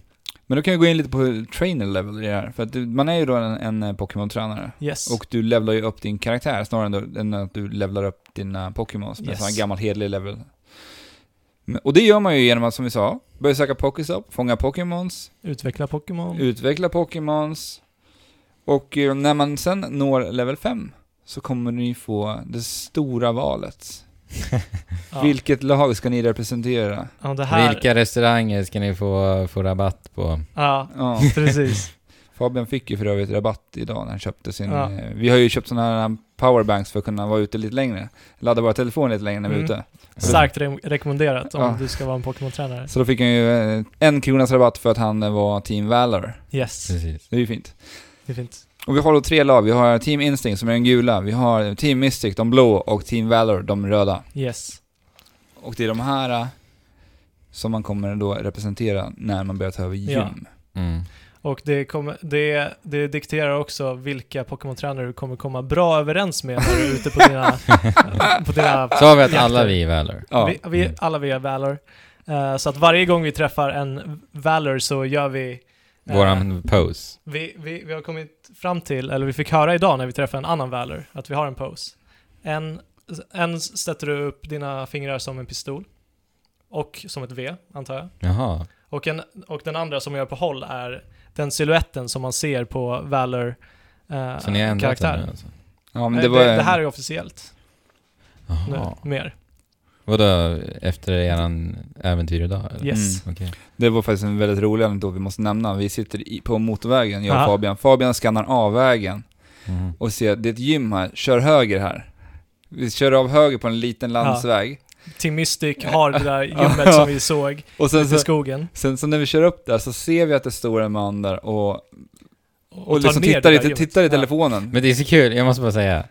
[SPEAKER 1] Men då kan jag gå in lite på hur trainer level i det här. För att du, man är ju då en, en eh, Pokémon-tränare.
[SPEAKER 2] Yes.
[SPEAKER 1] Och du levlar ju upp din karaktär snarare än då- än att du levlar upp dina Pokémons med
[SPEAKER 2] Yes.
[SPEAKER 1] sån här gammal hederlig level. Men- Och det gör man ju genom att, som vi sa, börja söka Pokéstop, fånga Pokémons,
[SPEAKER 2] Utveckla Pokémon.
[SPEAKER 1] utveckla Pokémons. Och eh, när man sen når level 5 så kommer ni få det stora valet.
[SPEAKER 2] Ja.
[SPEAKER 1] Vilket lag ska ni representera?
[SPEAKER 2] Ja, det här.
[SPEAKER 3] Vilka restauranger ska ni få, få rabatt på?
[SPEAKER 2] Ja,
[SPEAKER 1] Ja,
[SPEAKER 2] precis.
[SPEAKER 1] Fabian fick ju för övrigt rabatt idag när han köpte sin...
[SPEAKER 2] Ja.
[SPEAKER 1] eh, Vi har ju köpt sådana här powerbanks för att kunna vara ute lite längre. Ladda våra telefoner lite längre när vi är
[SPEAKER 2] Mm.
[SPEAKER 1] ute.
[SPEAKER 2] Starkt re rekommenderat om
[SPEAKER 1] Ja.
[SPEAKER 2] du ska vara en Pokémon-tränare.
[SPEAKER 1] Så då fick han ju eh, en kronas rabatt för att han eh, var Team Valor.
[SPEAKER 2] Yes,
[SPEAKER 3] Precis.
[SPEAKER 1] Det är ju fint.
[SPEAKER 2] det är fint.
[SPEAKER 1] Och vi har då tre lag. Vi har Team Instinct som är den gula. Vi har Team Mystic, de blå. Och Team Valor, de röda.
[SPEAKER 2] Yes.
[SPEAKER 1] Och det är de här eh, som man kommer då representera när man börjar ta över gym.
[SPEAKER 2] Ja.
[SPEAKER 3] Mm.
[SPEAKER 2] Och det, kommer, det, det dikterar också vilka Pokémon-tränare du kommer komma bra överens med när du är ute på dina... på dina
[SPEAKER 3] Sa vi att
[SPEAKER 2] jakter.
[SPEAKER 3] alla vi är Valor?
[SPEAKER 1] Ja.
[SPEAKER 2] Vi, vi,
[SPEAKER 3] Mm.
[SPEAKER 2] alla vi är Valor. Eh, så att varje gång vi träffar en Valor så gör vi... eh,
[SPEAKER 3] Våran pose.
[SPEAKER 2] vi, vi, vi har kommit fram till, eller vi fick höra idag när vi träffade en annan Valor, att vi har en pose. En, en sätter du upp dina fingrar som en pistol. Och som ett V, antar jag.
[SPEAKER 3] Jaha.
[SPEAKER 2] Och, en, och den andra som jag gör på håll är den siluetten som man ser på Valor eh,
[SPEAKER 3] Så ni har ändrat den
[SPEAKER 2] karaktären.
[SPEAKER 3] nu alltså?
[SPEAKER 1] Ja, men
[SPEAKER 2] Nej,
[SPEAKER 1] det, var,
[SPEAKER 2] Eh, det, det här är officiellt nu,
[SPEAKER 3] Jaha.
[SPEAKER 2] mer.
[SPEAKER 3] Vadå, efter eran äventyr idag?
[SPEAKER 1] Mm.
[SPEAKER 3] Eller?
[SPEAKER 2] Yes.
[SPEAKER 3] Okej.
[SPEAKER 1] det var faktiskt en väldigt rolig anekdot vi måste nämna. Vi sitter i, på motorvägen, jag och
[SPEAKER 2] Aha.
[SPEAKER 1] Fabian. Fabian skannar A-vägen
[SPEAKER 3] Mhm.
[SPEAKER 1] och ser, det är ett gym här, kör höger här. Vi kör av höger på en liten landsväg.
[SPEAKER 2] Team Mystic har det där gymmet som vi såg
[SPEAKER 1] Och sen
[SPEAKER 2] i
[SPEAKER 1] så,
[SPEAKER 2] skogen.
[SPEAKER 1] sen så när vi kör upp där så ser vi att det står en man där och,
[SPEAKER 2] Och,
[SPEAKER 1] och,
[SPEAKER 2] tar
[SPEAKER 1] liksom
[SPEAKER 2] ner det
[SPEAKER 1] tittar
[SPEAKER 2] där
[SPEAKER 1] i,
[SPEAKER 2] gymmet.
[SPEAKER 1] tittar i
[SPEAKER 2] Ja.
[SPEAKER 1] telefonen.
[SPEAKER 3] Men det är så kul, jag måste bara säga.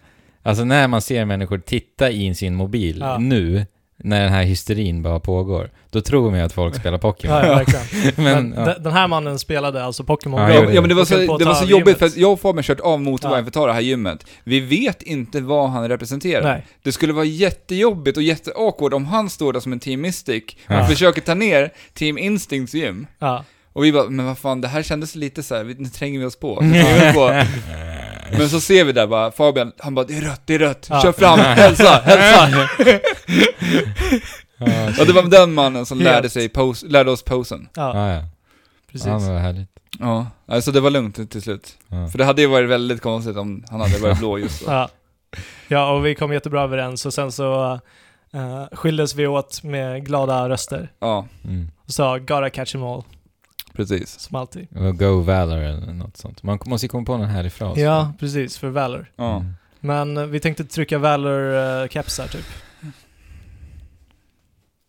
[SPEAKER 3] Alltså när man ser människor titta i sin mobil
[SPEAKER 2] Ja.
[SPEAKER 3] nu, när den här hysterin bara pågår, då tror man ju att folk spelar Pokémon.
[SPEAKER 2] Ja, ja, verkligen.
[SPEAKER 3] Men,
[SPEAKER 2] Men,
[SPEAKER 3] ja.
[SPEAKER 2] de- den här mannen spelade alltså Pokémon
[SPEAKER 3] Ja,
[SPEAKER 2] Go.
[SPEAKER 3] jag
[SPEAKER 1] Ja,
[SPEAKER 3] gjorde
[SPEAKER 1] ja men det var
[SPEAKER 2] Och
[SPEAKER 1] så,
[SPEAKER 2] höll på att
[SPEAKER 1] det
[SPEAKER 2] ta
[SPEAKER 1] var så
[SPEAKER 2] över
[SPEAKER 1] jobbigt
[SPEAKER 2] gymmet.
[SPEAKER 1] för att jag och Fabian kört av motorvägen
[SPEAKER 2] Ja.
[SPEAKER 1] för att ta det här gymmet. Vi vet inte vad han representerar.
[SPEAKER 2] Nej.
[SPEAKER 1] Det skulle vara jättejobbigt och jätteawkward om han står där som en Team Mystic och
[SPEAKER 3] Ja.
[SPEAKER 1] försöker ta ner Team Instincts gym.
[SPEAKER 2] Ja.
[SPEAKER 1] Och vi bara, men vad fan, det här kändes lite så här, vi- nu tränger vi oss på. Nu tränger vi oss på. Men så ser vi där bara, Fabian, han bara, det är rött, det är rött,
[SPEAKER 2] Ja.
[SPEAKER 1] kör fram, hälsa, hälsa.
[SPEAKER 3] Ja,
[SPEAKER 1] och det var den mannen som
[SPEAKER 2] Helt.
[SPEAKER 1] lärde, sig pose, lärde oss posen.
[SPEAKER 2] Ja,
[SPEAKER 3] ja, ja.
[SPEAKER 2] precis.
[SPEAKER 3] ja men vad härligt.
[SPEAKER 1] Ja, alltså det var lugnt till slut.
[SPEAKER 3] Ja.
[SPEAKER 1] För det hade ju varit väldigt konstigt om han hade varit blå just då.
[SPEAKER 2] Ja. ja, och vi kom jättebra överens och sen så eh, skildes vi åt med glada röster.
[SPEAKER 1] Ja,
[SPEAKER 3] Mm.
[SPEAKER 2] Och sa “Gotta catch em all”
[SPEAKER 1] precis.
[SPEAKER 2] som alltid.
[SPEAKER 3] Och Go Valor eller något sånt. Man måste ju komma på någon härlig fras.
[SPEAKER 2] Ja, precis, för Valor.
[SPEAKER 1] Ja.
[SPEAKER 3] Mm.
[SPEAKER 2] Men eh, vi tänkte trycka Valor-kepsar typ.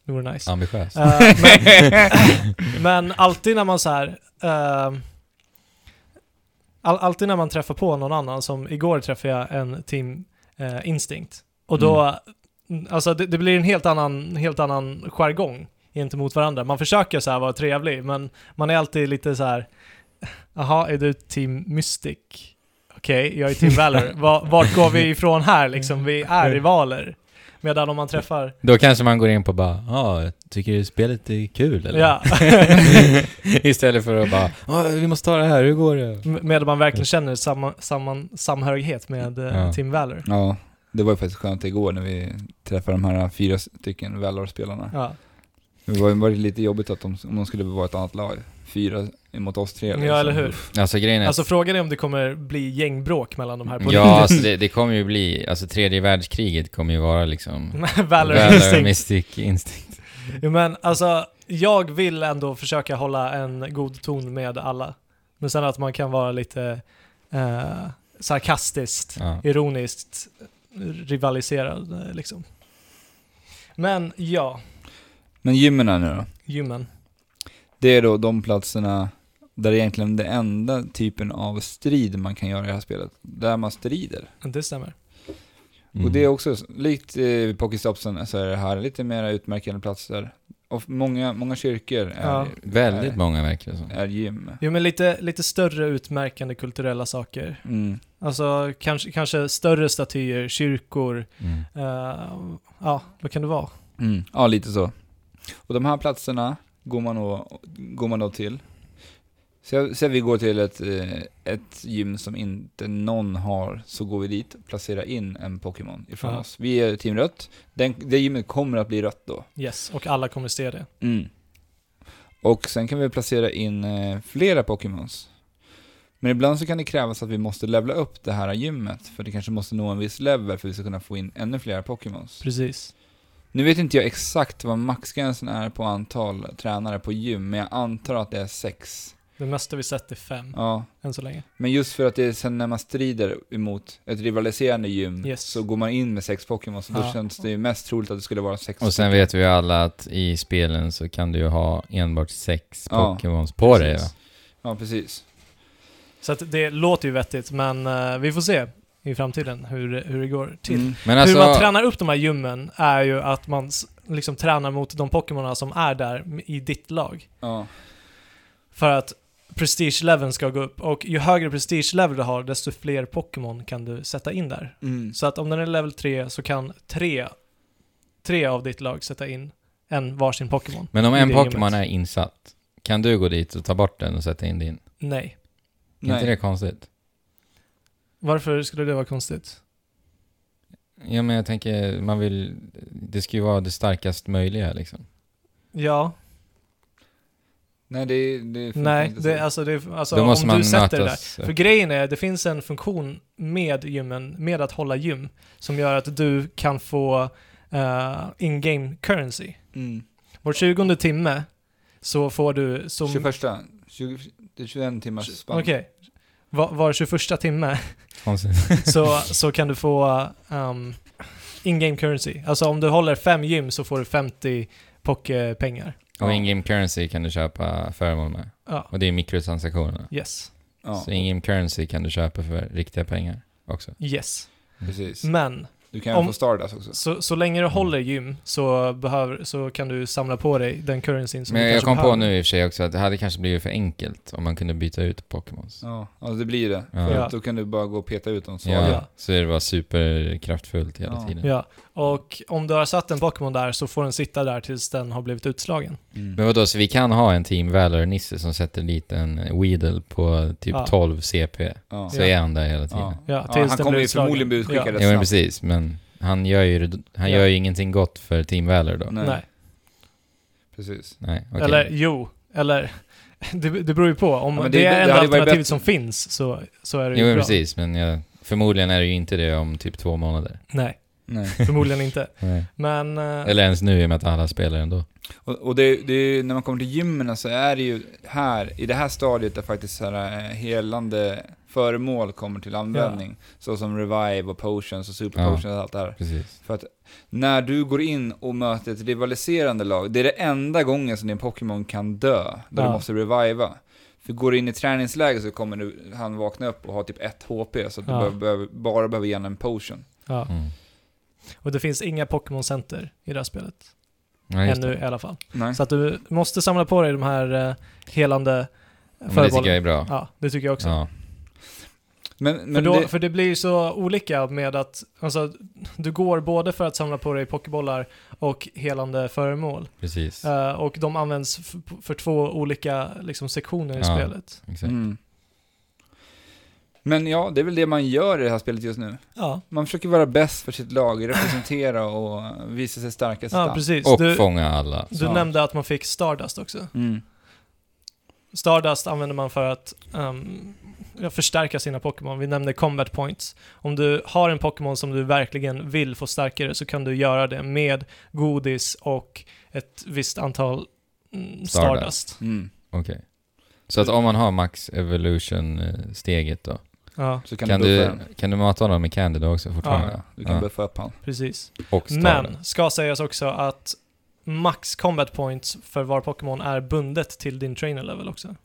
[SPEAKER 2] Det vore nice.
[SPEAKER 3] Ambitiöst.
[SPEAKER 2] Eh, men, men alltid när man så här... eh, all, alltid när man träffar på någon annan, som igår träffade jag en Team eh, Instinct. Och då, alltså det, det blir en helt annan, helt annan jargong gentemot varandra. Man försöker så här vara trevlig, men man är alltid lite så här... Jaha, är du Team Mystic? Okej, jag är Team Valor. Va- Vart går vi ifrån här liksom? Vi är rivaler. Medan om man träffar
[SPEAKER 3] Då kanske man går in på bara, ja, jag tycker det spelet är kul eller?
[SPEAKER 2] Ja.
[SPEAKER 3] Istället för att bara, ja, vi måste ta det här, hur går det?
[SPEAKER 2] M- Medan man verkligen känner samma, samman, samhörighet med eh,
[SPEAKER 3] Ja.
[SPEAKER 2] Team Valor.
[SPEAKER 1] Ja, det var ju faktiskt skönt igår när vi träffade de här fyra stycken Valor-spelarna.
[SPEAKER 2] Ja,
[SPEAKER 1] Det var ju varit lite jobbigt att de, om de skulle vara ett annat lag. Fyra mot oss tre. liksom.
[SPEAKER 2] ja eller hur?
[SPEAKER 3] Alltså grejen är
[SPEAKER 2] Alltså frågan är om det kommer bli gängbråk mellan de här på
[SPEAKER 3] Ja, alltså det, det kommer ju bli, alltså tredje världskriget kommer ju vara liksom
[SPEAKER 2] riktigt. Mm. Valor Instinct.
[SPEAKER 3] Mystic Instinct.
[SPEAKER 2] Jo, Men alltså, jag vill ändå försöka hålla en god ton med alla. Men sen att man kan vara lite eh, sarkastiskt,
[SPEAKER 3] Ja.
[SPEAKER 2] ironiskt rivaliserad eh, liksom. Men ja,
[SPEAKER 1] Men gymmen här nu då?
[SPEAKER 2] gymmen.
[SPEAKER 1] Det är då de platserna där egentligen den enda typen av strid man kan göra i det här spelet, där man strider.
[SPEAKER 2] Det stämmer.
[SPEAKER 3] Mm.
[SPEAKER 1] Och det är också, likt eh, Pokestopsen så är det här lite mer utmärkande platser. Och många, många kyrkor är,
[SPEAKER 2] Ja.
[SPEAKER 3] Väldigt många verkar det som.
[SPEAKER 1] är gym.
[SPEAKER 2] Jo men lite, lite större utmärkande kulturella saker
[SPEAKER 1] Mm.
[SPEAKER 2] Alltså kanske, kanske större statyer, kyrkor,
[SPEAKER 3] Mm.
[SPEAKER 2] eh, ja vad kan det vara?
[SPEAKER 1] Mm. Ja, lite så. Och de här platserna går man då, går man då till. Så, så vi går till ett, eh, ett gym som inte någon har, så går vi dit och placerar in en Pokémon ifrån
[SPEAKER 2] Ja.
[SPEAKER 1] oss. Vi är team rött. Den, det gymmet kommer att bli rött då.
[SPEAKER 2] Yes, och alla kommer se det.
[SPEAKER 1] Och sen kan vi placera in eh, flera Pokémons. Men ibland så kan det krävas att vi måste levla upp det här gymmet, för det kanske måste nå en viss level för att vi ska kunna få in ännu fler Pokémons.
[SPEAKER 2] Precis.
[SPEAKER 1] Nu vet inte jag exakt vad maxgränsen är på antal tränare på gym, men jag antar att det är sex.
[SPEAKER 2] Det mesta vi sett är fem,
[SPEAKER 1] Ja.
[SPEAKER 2] än så länge.
[SPEAKER 1] Men just för att det är sen när man strider emot ett rivaliserande gym,
[SPEAKER 2] Yes.
[SPEAKER 1] så går man in med sex Pokémons, och då
[SPEAKER 2] Ja.
[SPEAKER 1] känns det ju mest troligt att det skulle vara sex.
[SPEAKER 3] Och sen vet vi ju alla att i spelen så kan du ju ha enbart sex
[SPEAKER 1] Ja,
[SPEAKER 3] Pokémons på dig va?
[SPEAKER 1] precis. Ja, precis.
[SPEAKER 2] Så att det låter ju vettigt, men eh, vi får se i framtiden hur, det- hur det går till.
[SPEAKER 1] Mm.
[SPEAKER 3] Men
[SPEAKER 2] Hur man
[SPEAKER 3] alltså,
[SPEAKER 2] tränar upp de här gymmen är ju att man s- liksom tränar mot de Pokémonerna som är där i ditt lag.
[SPEAKER 1] Ja.
[SPEAKER 2] För att prestige leveln ska gå upp och ju högre prestige level du har desto fler Pokémon kan du sätta in där.
[SPEAKER 1] Mm.
[SPEAKER 2] Så att om den är level 3 så kan tre, tre av ditt lag sätta in en varsin Pokémon.
[SPEAKER 3] Men om
[SPEAKER 2] i
[SPEAKER 3] en
[SPEAKER 2] det
[SPEAKER 3] Pokémon är
[SPEAKER 2] gänget.
[SPEAKER 3] insatt, kan du gå dit och ta bort den och sätta in din?
[SPEAKER 2] Nej.
[SPEAKER 3] Är inte det konstigt?
[SPEAKER 2] Varför skulle det vara konstigt?
[SPEAKER 3] Ja, men jag tänker, man vill... Det ska ju vara det starkast möjliga liksom.
[SPEAKER 2] Ja,
[SPEAKER 1] Nej, det, det funkar
[SPEAKER 2] nej.
[SPEAKER 1] inte så.
[SPEAKER 2] Det, alltså det, alltså
[SPEAKER 3] Då måste
[SPEAKER 2] om
[SPEAKER 3] man
[SPEAKER 2] du sätter det där.
[SPEAKER 3] mötas.
[SPEAKER 2] För grejen är, det finns en funktion med gymmen, med att hålla gym, som gör att du kan få eh, in-game currency.
[SPEAKER 1] Mm.
[SPEAKER 2] Var 20 timme så får du som...
[SPEAKER 1] 21, 20, det är 21 timmars spann.
[SPEAKER 2] Okej. Var, var 21 timme
[SPEAKER 3] Konstigt.
[SPEAKER 2] så, så kan du få um, in-game currency. Alltså om du håller fem gym så får du 50 pokepengar.
[SPEAKER 3] Och in-game currency kan du köpa föremål med.
[SPEAKER 2] Ja,
[SPEAKER 3] Och det är mikrotransaktioner.
[SPEAKER 2] yes.
[SPEAKER 1] Ja,
[SPEAKER 3] Så in-game currency kan du köpa för riktiga pengar också.
[SPEAKER 2] Yes.
[SPEAKER 1] precis.
[SPEAKER 2] Men
[SPEAKER 1] Du kan ju
[SPEAKER 2] Mm. Om-
[SPEAKER 1] få Stardust också.
[SPEAKER 2] så, så länge du håller
[SPEAKER 3] Mm.
[SPEAKER 2] gym så, behöver, så kan du samla på dig den currencyn som
[SPEAKER 3] Men
[SPEAKER 2] du
[SPEAKER 3] jag
[SPEAKER 2] kanske
[SPEAKER 3] kom på
[SPEAKER 2] behöver.
[SPEAKER 3] nu i och för sig också att det hade kanske blivit för enkelt om man kunde byta ut Pokémons.
[SPEAKER 1] Ja, alltså det blir det.
[SPEAKER 3] Ja.
[SPEAKER 1] För
[SPEAKER 2] Ja.
[SPEAKER 1] att då kan du bara gå och peta ut dem så.
[SPEAKER 3] Ja,
[SPEAKER 2] Ja.
[SPEAKER 3] så det var superkraftfullt hela
[SPEAKER 1] Ja.
[SPEAKER 3] tiden.
[SPEAKER 2] Ja, och om du har satt en Pokémon där så får den sitta där tills den har blivit utslagen.
[SPEAKER 1] Mm.
[SPEAKER 3] Men vadå, så vi kan ha en Team Valor-Nisse som sätter dit en Weedle på typ
[SPEAKER 2] Ja.
[SPEAKER 3] 12 CP,
[SPEAKER 1] Ja.
[SPEAKER 3] så
[SPEAKER 2] Ja.
[SPEAKER 3] är han där hela tiden.
[SPEAKER 1] Ja.
[SPEAKER 3] Ja,
[SPEAKER 2] Ja, tills
[SPEAKER 1] Ja, han
[SPEAKER 2] den
[SPEAKER 1] kommer
[SPEAKER 2] blir
[SPEAKER 1] ju
[SPEAKER 2] utslagen.
[SPEAKER 1] förmodligen bli utskickad
[SPEAKER 2] Ja.
[SPEAKER 1] rätt
[SPEAKER 3] men
[SPEAKER 1] snabbt.
[SPEAKER 3] precis, men han gör ju, han
[SPEAKER 2] Ja.
[SPEAKER 3] gör ju ingenting gott för Team Valor då.
[SPEAKER 1] Nej,
[SPEAKER 2] Nej.
[SPEAKER 1] precis.
[SPEAKER 3] Nej, okej.
[SPEAKER 2] Eller jo, eller det, det beror ju på. Om
[SPEAKER 1] Ja, men
[SPEAKER 2] det,
[SPEAKER 1] det- det
[SPEAKER 2] är
[SPEAKER 1] hade
[SPEAKER 2] enda
[SPEAKER 1] varit bättre.
[SPEAKER 2] alternativet som finns så, så är det
[SPEAKER 3] Jo,
[SPEAKER 2] ju
[SPEAKER 3] men
[SPEAKER 2] bra.
[SPEAKER 3] precis, men jag, förmodligen är det ju inte det om typ två månader.
[SPEAKER 2] Nej,
[SPEAKER 1] Nej.
[SPEAKER 2] förmodligen inte.
[SPEAKER 3] Nej.
[SPEAKER 2] Men eh,
[SPEAKER 3] Eller ens nu i och med att alla spelar ändå.
[SPEAKER 1] Och, och det, det är, ju- när man kommer till gymmen så är det ju här, i det här stadiet där faktiskt så här, eh, helande föremål kommer till användning. Så som revive och potions och super
[SPEAKER 3] Ja.
[SPEAKER 1] potions och allt det här.
[SPEAKER 3] Precis.
[SPEAKER 1] För att när du går in och möter ett rivaliserande lag, det är det enda gången som din Pokémon kan dö, då du
[SPEAKER 2] Ja.
[SPEAKER 1] måste reviva. För går du in i träningsläge så kommer du, han vakna upp och ha typ 1 HP, så att du
[SPEAKER 2] Ja.
[SPEAKER 1] behöver, behöver, bara behöver ge honom en potion.
[SPEAKER 2] ja.
[SPEAKER 3] Mm.
[SPEAKER 2] Och det finns inga Pokémon Center i det här spelet.
[SPEAKER 3] Ja, just det.
[SPEAKER 2] Ännu i alla fall.
[SPEAKER 1] Nej.
[SPEAKER 2] Så att du måste samla på dig de här eh, helande
[SPEAKER 3] Men det tycker jag
[SPEAKER 2] förebollarna.
[SPEAKER 3] är bra.
[SPEAKER 2] Ja, det tycker jag också.
[SPEAKER 3] Ja.
[SPEAKER 1] Men,
[SPEAKER 2] För,
[SPEAKER 1] men
[SPEAKER 2] då,
[SPEAKER 1] det,
[SPEAKER 2] för det blir ju så olika med att alltså, du går både för att samla på dig pokébollar och helande föremål.
[SPEAKER 3] Precis.
[SPEAKER 2] Eh, och de används f- för två olika liksom, sektioner i
[SPEAKER 3] Ja.
[SPEAKER 2] spelet.
[SPEAKER 3] Exakt.
[SPEAKER 1] mm. Men ja, det är väl det man gör i det här spelet just nu.
[SPEAKER 2] Ja,
[SPEAKER 1] Man försöker vara bäst för sitt lag, representera och visa sig starkast.
[SPEAKER 2] ja precis.
[SPEAKER 3] Och
[SPEAKER 2] Du,
[SPEAKER 3] fånga alla.
[SPEAKER 2] du
[SPEAKER 1] så.
[SPEAKER 2] nämnde att man fick Stardust också.
[SPEAKER 1] Mm.
[SPEAKER 2] Stardust använder man för att ehm, ja, förstärka sina Pokémon. Vi nämnde Combat Points. Om du har en Pokémon som du verkligen vill få starkare så kan du göra det med godis och ett visst antal mm,
[SPEAKER 3] Stardust.
[SPEAKER 2] Stardust.
[SPEAKER 1] Mm.
[SPEAKER 3] Okej. Så att om man har max evolution-steget då,
[SPEAKER 2] Ja,
[SPEAKER 1] Så kan,
[SPEAKER 3] kan,
[SPEAKER 1] du buffa
[SPEAKER 3] du,
[SPEAKER 1] den.
[SPEAKER 3] kan du mata honom med Candy då också fortfarande?
[SPEAKER 1] Ja, du kan buffa upp han.
[SPEAKER 2] precis.
[SPEAKER 3] Och starten.
[SPEAKER 2] Men ska sägas också att max combat points för var Pokémon är bundet till din trainer level också.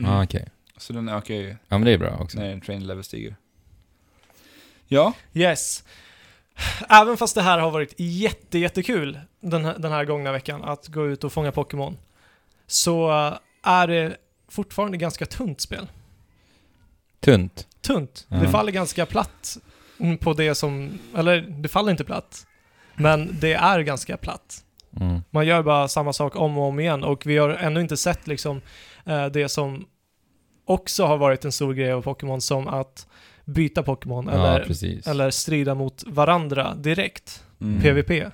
[SPEAKER 1] Mm.
[SPEAKER 3] Ah, okej.
[SPEAKER 1] Så den ökar ju
[SPEAKER 3] Ja, men det är bra också.
[SPEAKER 1] när en train level stiger. Ja,
[SPEAKER 2] Yes. Även fast det här har varit jätte, jättekul den här, den här gångna veckan att gå ut och fånga Pokémon så eh, är det fortfarande ganska tunt spel.
[SPEAKER 3] Tunt.
[SPEAKER 2] Tunt. Det
[SPEAKER 3] Mm.
[SPEAKER 2] faller ganska platt mm, på det som, eller det faller inte platt, men det är ganska platt.
[SPEAKER 3] Mm.
[SPEAKER 2] Man gör bara samma sak om och om igen och vi har ännu inte sett liksom eh, det som också har varit en stor grej av Pokémon som att byta Pokémon
[SPEAKER 3] ja,
[SPEAKER 2] eller,
[SPEAKER 3] precis.
[SPEAKER 2] eller strida mot varandra direkt,
[SPEAKER 1] Mm.
[SPEAKER 2] PVP.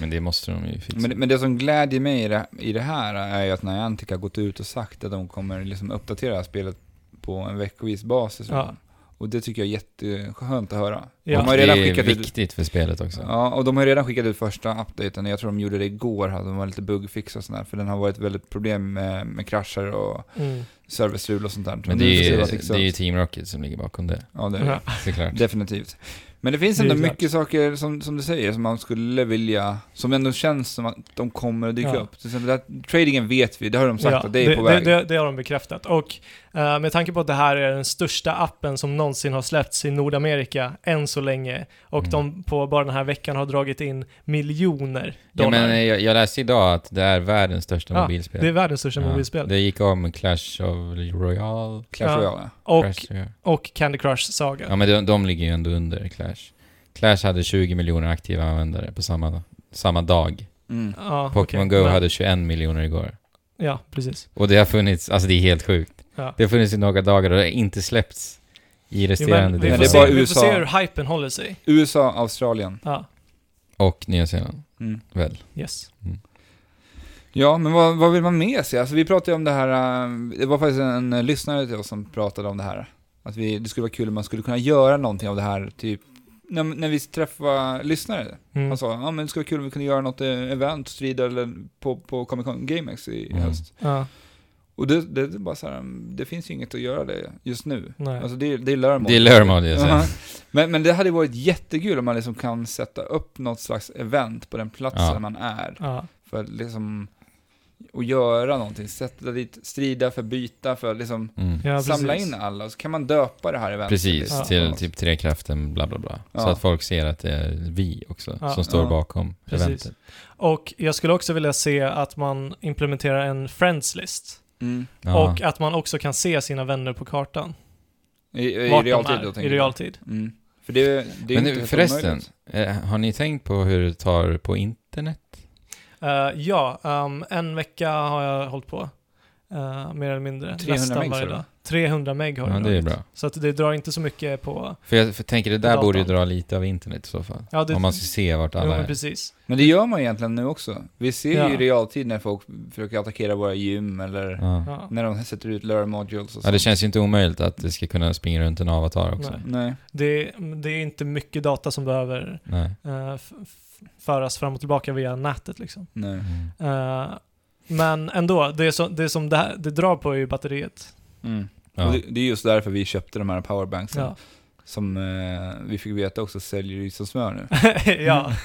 [SPEAKER 3] Men det måste de ju fixa.
[SPEAKER 1] men, men det som glädjer mig i det, i det här är ju att Niantic har gått ut och sagt att de kommer liksom uppdatera det här spelet på en veckovis basis.
[SPEAKER 2] Ja.
[SPEAKER 1] Och det tycker jag är jätteskönt att höra.
[SPEAKER 2] Ja.
[SPEAKER 1] De har ju
[SPEAKER 3] det
[SPEAKER 1] redan
[SPEAKER 3] är
[SPEAKER 1] skickat ut,
[SPEAKER 3] viktigt för spelet också.
[SPEAKER 1] ja, och de har ju redan skickat ut första updaten. Jag tror de gjorde det igår, hade de var lite bugfix och sådär. För den har varit väldigt problem med, med krascher och
[SPEAKER 2] Mm.
[SPEAKER 1] serverstrul och sånt där.
[SPEAKER 3] Men det är, ju,
[SPEAKER 1] Ja,
[SPEAKER 3] det är ju Team Rocket som ligger bakom det,
[SPEAKER 1] Ja, det är det.
[SPEAKER 3] såklart.
[SPEAKER 1] Definitivt. Men det finns
[SPEAKER 2] Det är
[SPEAKER 1] ändå
[SPEAKER 2] klart.
[SPEAKER 1] mycket saker som, som du säger som man skulle vilja, som ändå känns som att de kommer att dyka
[SPEAKER 2] Ja.
[SPEAKER 1] upp. Till exempel att tradingen vet vi, det har de sagt
[SPEAKER 2] Ja,
[SPEAKER 1] att det är på väg.
[SPEAKER 2] Det, det har de bekräftat. Och eh, med tanke på att det här är den största appen som någonsin har släppts i Nordamerika än så länge och
[SPEAKER 3] Mm.
[SPEAKER 2] de på bara den här veckan har dragit in miljoner
[SPEAKER 3] Ja,
[SPEAKER 2] dollar.
[SPEAKER 1] eh,
[SPEAKER 3] men jag, jag läste idag att det är världens största
[SPEAKER 2] Ja,
[SPEAKER 3] mobilspel.
[SPEAKER 2] det är världens största
[SPEAKER 3] Ja.
[SPEAKER 2] mobilspel.
[SPEAKER 3] Det gick om Clash of Royale.
[SPEAKER 1] Clash
[SPEAKER 2] Ja.
[SPEAKER 1] Royale,
[SPEAKER 2] Och,
[SPEAKER 3] Crash, ja.
[SPEAKER 2] och Candy Crush Saga.
[SPEAKER 3] ja, men de, de ligger ju ändå under Clash. Clash hade 20 miljoner aktiva användare på samma, samma dag.
[SPEAKER 1] ja. Mm.
[SPEAKER 2] Ja,
[SPEAKER 3] Pokémon
[SPEAKER 2] okej.
[SPEAKER 3] Go
[SPEAKER 2] Men-
[SPEAKER 3] hade 21 miljoner igår.
[SPEAKER 2] Ja, precis.
[SPEAKER 3] Och det har funnits, alltså det är helt sjukt.
[SPEAKER 2] Ja.
[SPEAKER 3] Det har funnits i några dagar och det har inte släppts i
[SPEAKER 2] Jo,
[SPEAKER 3] resterande
[SPEAKER 2] men vi,
[SPEAKER 1] det
[SPEAKER 2] får
[SPEAKER 1] är
[SPEAKER 3] delar.
[SPEAKER 1] bara
[SPEAKER 2] se, vi får
[SPEAKER 1] USA.
[SPEAKER 2] se hur hypen håller sig.
[SPEAKER 1] USA, Australien.
[SPEAKER 2] Ja,
[SPEAKER 3] Och Nya Zeeland,
[SPEAKER 1] Mm.
[SPEAKER 3] väl?
[SPEAKER 2] yes.
[SPEAKER 1] Ja, men vad, vad vill man med sig? Alltså vi pratade ju om det här, eh, det var faktiskt en eh, lyssnare till oss som pratade om det här. Att vi, det skulle vara kul om man skulle kunna göra någonting av det här, typ när, när vi träffar lyssnare.
[SPEAKER 2] Mm.
[SPEAKER 1] Han sa, ja men det skulle vara kul om vi kunde göra något eh, event, strider eller på, på Comic Con GameX i
[SPEAKER 3] Mm.
[SPEAKER 1] höst.
[SPEAKER 2] ja,
[SPEAKER 1] Och det, det, är bara så här, mm, det finns ju inget att göra det just nu.
[SPEAKER 2] nej.
[SPEAKER 1] Alltså det, är- det är lörmål.
[SPEAKER 3] Det är Lörmod, jag säger.
[SPEAKER 1] Ja. Men, men det hade ju varit jättekul om man liksom kan sätta upp något slags event på den platsen
[SPEAKER 3] Ja.
[SPEAKER 1] där man är.
[SPEAKER 2] ja.
[SPEAKER 1] För att liksom, och göra någonting. Sätta dit, strida för byta, för att liksom
[SPEAKER 3] Mm.
[SPEAKER 2] Ja, precis.
[SPEAKER 1] samla in alla. Så kan man döpa det här eventet.
[SPEAKER 3] Precis,
[SPEAKER 1] liksom.
[SPEAKER 3] till typ tre kraften bla bla bla. Så
[SPEAKER 1] Ja.
[SPEAKER 3] att folk ser att det är vi också
[SPEAKER 2] Ja,
[SPEAKER 3] som står
[SPEAKER 1] ja.
[SPEAKER 3] bakom
[SPEAKER 2] Precis.
[SPEAKER 3] eventet.
[SPEAKER 2] Och jag skulle också vilja se att man implementerar en friends list.
[SPEAKER 1] Mm.
[SPEAKER 3] Ja.
[SPEAKER 2] Och att man också kan se sina vänner på kartan.
[SPEAKER 1] I, i,
[SPEAKER 2] Vart
[SPEAKER 1] realtid
[SPEAKER 2] de
[SPEAKER 1] då,
[SPEAKER 2] är,
[SPEAKER 1] tänker
[SPEAKER 2] I
[SPEAKER 1] jag.
[SPEAKER 2] realtid.
[SPEAKER 1] Mm. För det, det är ju
[SPEAKER 3] Men
[SPEAKER 1] inte
[SPEAKER 3] nu,
[SPEAKER 1] helt
[SPEAKER 3] förresten,
[SPEAKER 1] omöjligt.
[SPEAKER 3] eh, har ni tänkt på hur det tar på internet?
[SPEAKER 2] Eh, ja, ehm, en vecka har jag hållit på. Eh, mer eller mindre.
[SPEAKER 1] 300
[SPEAKER 2] Nästan
[SPEAKER 1] meg,
[SPEAKER 2] varje
[SPEAKER 1] sa du?
[SPEAKER 2] dag. 300 meg har
[SPEAKER 3] Ja,
[SPEAKER 2] jag
[SPEAKER 3] det är
[SPEAKER 2] dragit.
[SPEAKER 3] bra.
[SPEAKER 2] Så att det drar inte så mycket på...
[SPEAKER 3] För jag för tänker, det där
[SPEAKER 2] Datan.
[SPEAKER 3] borde ju dra lite av internet i så fall.
[SPEAKER 2] Ja, det,
[SPEAKER 3] Om man ska se vart
[SPEAKER 2] jo,
[SPEAKER 3] alla
[SPEAKER 2] men
[SPEAKER 3] är.
[SPEAKER 2] precis.
[SPEAKER 1] Men det gör man ju egentligen nu också. Vi ser
[SPEAKER 2] Ja.
[SPEAKER 1] ju i realtid när folk försöker attackera våra gym eller
[SPEAKER 3] Ja.
[SPEAKER 2] Ja.
[SPEAKER 1] när de sätter ut lure modules och
[SPEAKER 3] ja, det
[SPEAKER 1] sånt.
[SPEAKER 3] känns ju inte omöjligt att det ska kunna springa runt en avatar också.
[SPEAKER 2] Nej.
[SPEAKER 3] Nej.
[SPEAKER 1] Nej.
[SPEAKER 2] Det, det är inte mycket data som behöver eh, f- f- föras fram och tillbaka via nätet liksom.
[SPEAKER 1] Nej.
[SPEAKER 3] Mm.
[SPEAKER 2] Eh, men ändå, det, är så, det som det, här, det drar på är ju batteriet.
[SPEAKER 1] Mm.
[SPEAKER 3] Ja.
[SPEAKER 1] Och det, det är just därför vi köpte de här powerbanksen.
[SPEAKER 2] Ja.
[SPEAKER 1] Som eh, vi fick veta också säljer ju som smör nu.
[SPEAKER 2] ja.
[SPEAKER 1] Mm.
[SPEAKER 2] Eh,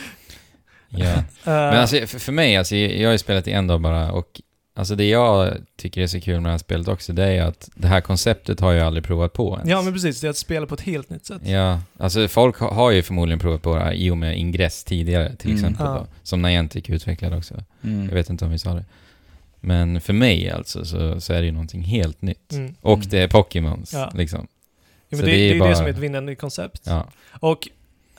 [SPEAKER 3] ja. Men alltså, för, för mig, alltså, jag har ju spelat i en dag bara och alltså, det jag tycker är så kul med det här spelet också, det är ju att det här konceptet har jag aldrig provat på ens.
[SPEAKER 2] ja, men precis. Det är att spela på ett helt nytt sätt.
[SPEAKER 3] Ja, alltså folk ha- har ju förmodligen provat på det här i och med Ingress tidigare till
[SPEAKER 1] Mm.
[SPEAKER 3] exempel
[SPEAKER 2] Ja.
[SPEAKER 3] då, Som Niantic utvecklade också.
[SPEAKER 1] Mm.
[SPEAKER 3] Jag vet inte om vi sa det. Men för mig alltså så, så är det ju någonting helt nytt.
[SPEAKER 2] Mm.
[SPEAKER 3] Och
[SPEAKER 1] Mm.
[SPEAKER 3] det är Pokémons
[SPEAKER 2] Ja.
[SPEAKER 3] liksom.
[SPEAKER 2] Ja,
[SPEAKER 3] Så
[SPEAKER 2] men det,
[SPEAKER 3] det är
[SPEAKER 2] det är ju
[SPEAKER 3] bara-
[SPEAKER 2] det som är ett vinnande koncept.
[SPEAKER 3] Ja.
[SPEAKER 2] Och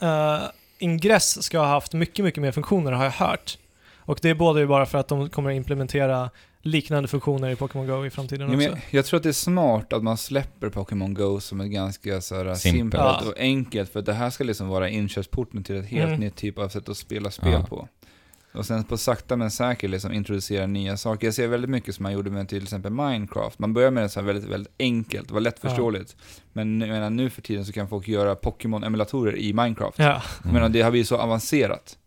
[SPEAKER 2] eh, Ingress ska ha haft mycket, mycket mer funktioner har jag hört. Och det är både ju bara för att de kommer implementera liknande funktioner i Pokémon Go i framtiden
[SPEAKER 1] Ja, men
[SPEAKER 2] också.
[SPEAKER 1] jag, jag tror att det är smart att man släpper Pokémon Go som ett ganska så här,
[SPEAKER 3] Simpelt.
[SPEAKER 1] simpelt
[SPEAKER 2] Ja.
[SPEAKER 1] och enkelt, för det här ska liksom vara inkörsporten till ett helt
[SPEAKER 2] Mm.
[SPEAKER 1] nytt typ av sätt att spela spel
[SPEAKER 3] Ja.
[SPEAKER 1] på. Och sen på sakta men säkert liksom introducera nya saker. Jag ser väldigt mycket som man gjorde med till exempel Minecraft. Man börjar med det så här väldigt, väldigt enkelt, det var lättförståeligt. Men jag menar, nu för tiden så kan folk göra Pokémon-emulatorer i Minecraft.
[SPEAKER 2] Ja,
[SPEAKER 1] Jag menar, det har blivit så avancerat.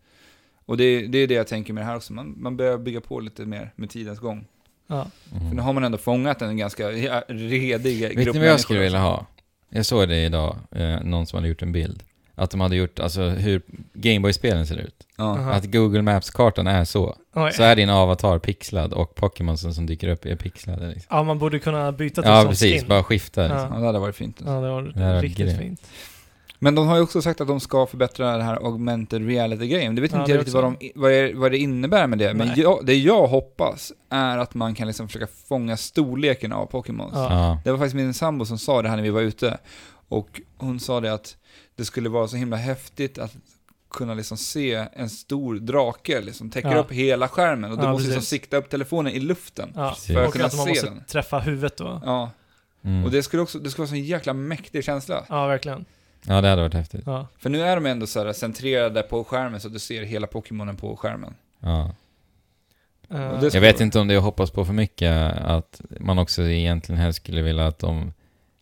[SPEAKER 1] Och det, det är det jag tänker med det här också, man, man börjar bygga på lite mer med tidens gång.
[SPEAKER 2] ja.
[SPEAKER 3] Mm.
[SPEAKER 1] För nu har man ändå fångat en ganska ja, redig grupp
[SPEAKER 3] Vet ni vad jag skulle vilja ha? Jag såg det idag, eh, någon som hade gjort en bild. Att de hade gjort, alltså hur Gameboy-spelen ser ut.
[SPEAKER 1] Ja.
[SPEAKER 2] Aha.
[SPEAKER 3] Att Google Maps-kartan är så.
[SPEAKER 2] Oj.
[SPEAKER 3] Så är din avatar pixlad och Pokémonsen som dyker upp är pixlade liksom.
[SPEAKER 2] ja, man borde kunna byta till
[SPEAKER 3] Ja,
[SPEAKER 2] sån
[SPEAKER 3] precis.
[SPEAKER 2] skin.
[SPEAKER 3] Bara skifta liksom.
[SPEAKER 1] ja, det hade varit fint.
[SPEAKER 2] Ja, det var
[SPEAKER 3] Det här är
[SPEAKER 2] riktigt
[SPEAKER 3] grymt.
[SPEAKER 2] fint.
[SPEAKER 1] Men de har ju också sagt att de ska förbättra det här augmented reality-grejen. Det vet
[SPEAKER 2] Ja,
[SPEAKER 1] inte
[SPEAKER 2] det
[SPEAKER 1] jag riktigt vad, de, vad, det, vad det innebär med det, men
[SPEAKER 2] Nej.
[SPEAKER 1] jag, det jag hoppas är att man kan liksom försöka fånga storleken av Pokémon.
[SPEAKER 2] Ja.
[SPEAKER 3] Ja.
[SPEAKER 1] Det var faktiskt min sambo som sa det här när vi var ute. Och hon sa det att det skulle vara så himla häftigt att kunna liksom se en stor drake liksom täcker
[SPEAKER 2] Ja.
[SPEAKER 1] upp hela skärmen och du
[SPEAKER 2] Ja,
[SPEAKER 1] måste liksom
[SPEAKER 2] precis.
[SPEAKER 1] sikta upp telefonen i luften.
[SPEAKER 2] Ja.
[SPEAKER 3] Precis.
[SPEAKER 1] För att
[SPEAKER 2] Och
[SPEAKER 1] kunna
[SPEAKER 2] att man
[SPEAKER 1] se
[SPEAKER 2] måste
[SPEAKER 1] den.
[SPEAKER 2] träffa huvudet då.
[SPEAKER 1] Ja.
[SPEAKER 3] Mm.
[SPEAKER 1] Och det skulle också, det skulle vara så en jäkla mäktig känsla.
[SPEAKER 2] Ja, verkligen.
[SPEAKER 3] ja, det hade varit häftigt.
[SPEAKER 2] Ja.
[SPEAKER 1] För nu är de ändå så här centrerade på skärmen så att du ser hela Pokémonen på skärmen.
[SPEAKER 3] Ja.
[SPEAKER 2] Eh,
[SPEAKER 1] Och det
[SPEAKER 3] Jag vet inte om det är att hoppas på för mycket, att man också egentligen helst skulle vilja att de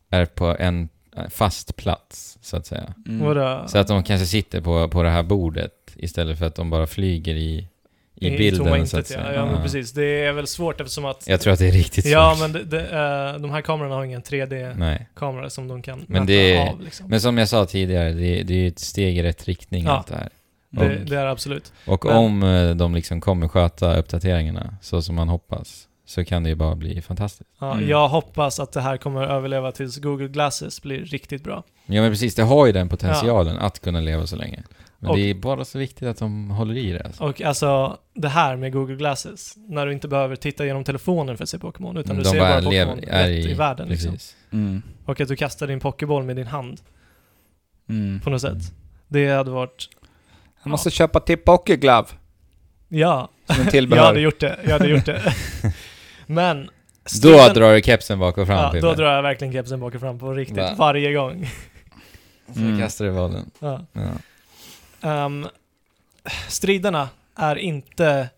[SPEAKER 3] är på en fast plats, så att säga.
[SPEAKER 1] Mm.
[SPEAKER 2] vadå?
[SPEAKER 3] Så att de kanske sitter på, på det här bordet istället för att de bara flyger i, i,
[SPEAKER 2] tomma
[SPEAKER 3] bilden, så att
[SPEAKER 2] intet,
[SPEAKER 3] säga.
[SPEAKER 2] ja. ja, men precis. Det är väl svårt eftersom att...
[SPEAKER 3] Jag tror att det är riktigt
[SPEAKER 2] Ja,
[SPEAKER 3] svårt.
[SPEAKER 2] men det, det, eh, de här kamerorna har ingen 3D-kamera
[SPEAKER 3] Nej.
[SPEAKER 2] som de kan
[SPEAKER 3] Men
[SPEAKER 2] mäta
[SPEAKER 3] det är-
[SPEAKER 2] av. Liksom.
[SPEAKER 3] Men som jag sa tidigare, det, det är ju ett steg i rätt riktning
[SPEAKER 2] Ja.
[SPEAKER 3] allt det här. Mm.
[SPEAKER 2] det, det är det absolut.
[SPEAKER 3] Och
[SPEAKER 2] Men-
[SPEAKER 3] om eh, de liksom kommer sköta uppdateringarna så som man hoppas, så kan det ju bara bli fantastiskt.
[SPEAKER 2] Ja,
[SPEAKER 1] Mm.
[SPEAKER 2] Jag hoppas att det här kommer att överleva tills Google Glasses blir riktigt bra.
[SPEAKER 3] Ja men precis, det har ju den potentialen att kunna leva så länge. Men
[SPEAKER 2] Och-
[SPEAKER 3] det är bara så viktigt att de håller i det. Alltså.
[SPEAKER 2] Och alltså det här med Google Glasses, när du inte behöver titta genom telefonen för att se Pokémon, utan
[SPEAKER 3] Mm,
[SPEAKER 2] du
[SPEAKER 3] de
[SPEAKER 2] ser
[SPEAKER 3] bara
[SPEAKER 2] bara
[SPEAKER 3] lever-
[SPEAKER 2] Pokémon
[SPEAKER 3] är
[SPEAKER 2] rätt i,
[SPEAKER 3] i-
[SPEAKER 2] världen. Liksom.
[SPEAKER 3] Precis.
[SPEAKER 1] Mm.
[SPEAKER 2] Och att du kastar din Pokéboll med din hand
[SPEAKER 1] Mm.
[SPEAKER 2] på något sätt. Det hade varit,
[SPEAKER 1] Jag måste köpa till Pokéglove
[SPEAKER 2] ja,
[SPEAKER 1] som en
[SPEAKER 2] jag hade
[SPEAKER 1] tillbehör.
[SPEAKER 2] gjort det, jag hade gjort det. Men,
[SPEAKER 3] Då
[SPEAKER 2] stunden-
[SPEAKER 3] drar du kepsen bak och fram
[SPEAKER 2] ja, Då
[SPEAKER 3] Pippi.
[SPEAKER 2] drar jag verkligen kepsen bak och fram på riktigt,
[SPEAKER 3] Va?
[SPEAKER 2] varje gång.
[SPEAKER 3] Så
[SPEAKER 1] Mm.
[SPEAKER 3] kastar du bollen.
[SPEAKER 2] Ja.
[SPEAKER 3] Ja.
[SPEAKER 2] Ehm, striderna är inte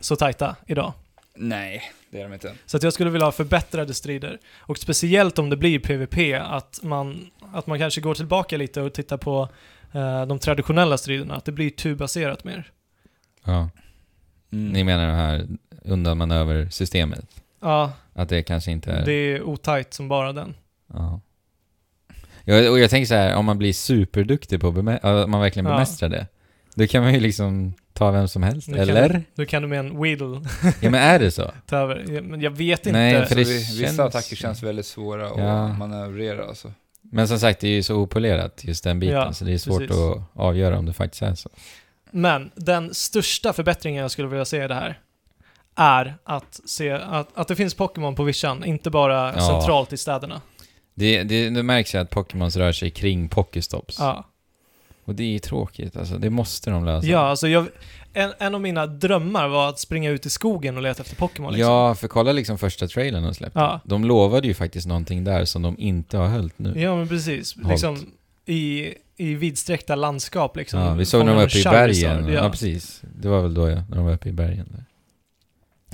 [SPEAKER 2] så tajta idag.
[SPEAKER 1] Nej, det är de inte.
[SPEAKER 2] Så att jag skulle vilja ha förbättrade strider. Och speciellt om det blir PVP, att man, att man kanske går tillbaka lite och tittar på eh, de traditionella striderna, att det blir turbaserat mer.
[SPEAKER 3] Ja. Ni menar det här undanmanöversystemet?
[SPEAKER 2] Ja,
[SPEAKER 3] Att det kanske inte är...
[SPEAKER 2] det är otajt som bara den.
[SPEAKER 3] Ja. Jag, och jag tänker så här, om man blir superduktig på att bemä- äh, man verkligen
[SPEAKER 2] Ja.
[SPEAKER 3] bemästrar det, då kan man ju liksom ta vem som helst,
[SPEAKER 2] Nu kan-
[SPEAKER 3] eller?
[SPEAKER 2] Då kan du med en Weedle
[SPEAKER 3] Ja men är det så?
[SPEAKER 2] ta över. Ja, Men jag vet inte.
[SPEAKER 3] Nej,
[SPEAKER 1] För
[SPEAKER 3] För det
[SPEAKER 1] alltså, vissa
[SPEAKER 3] känns-
[SPEAKER 1] attacker känns väldigt svåra att
[SPEAKER 3] Ja.
[SPEAKER 1] manövrera alltså.
[SPEAKER 3] Men som sagt, det är ju så opolerat, just den biten,
[SPEAKER 2] Ja,
[SPEAKER 3] så det är svårt
[SPEAKER 2] precis.
[SPEAKER 3] att avgöra om det faktiskt är så.
[SPEAKER 2] Men den största förbättringen jag skulle vilja se i det här är att se att, att det finns Pokémon på vischan, inte bara
[SPEAKER 3] Ja.
[SPEAKER 2] centralt i städerna.
[SPEAKER 3] Det, det, det märks ju att Pokémons rör sig kring Pokéstops.
[SPEAKER 2] Ja,
[SPEAKER 3] Och det är ju tråkigt, alltså. Det måste de lösa.
[SPEAKER 2] ja alltså jag, en, en av mina drömmar var att springa ut i skogen och leta efter Pokémon. Liksom.
[SPEAKER 3] Ja, för kolla liksom första trailern de släppte.
[SPEAKER 2] Ja.
[SPEAKER 3] De lovade ju faktiskt någonting där som de inte har höljt nu.
[SPEAKER 2] ja, men precis.
[SPEAKER 3] Halt.
[SPEAKER 2] Liksom, i, I vidsträckta landskap liksom.
[SPEAKER 3] Ja, vi såg när de var uppe i
[SPEAKER 2] Fångar en
[SPEAKER 3] bergen.
[SPEAKER 2] Charizard,
[SPEAKER 3] Ja.
[SPEAKER 2] Ja.
[SPEAKER 3] precis. Det var väl då ja, när de var uppe i bergen. Där.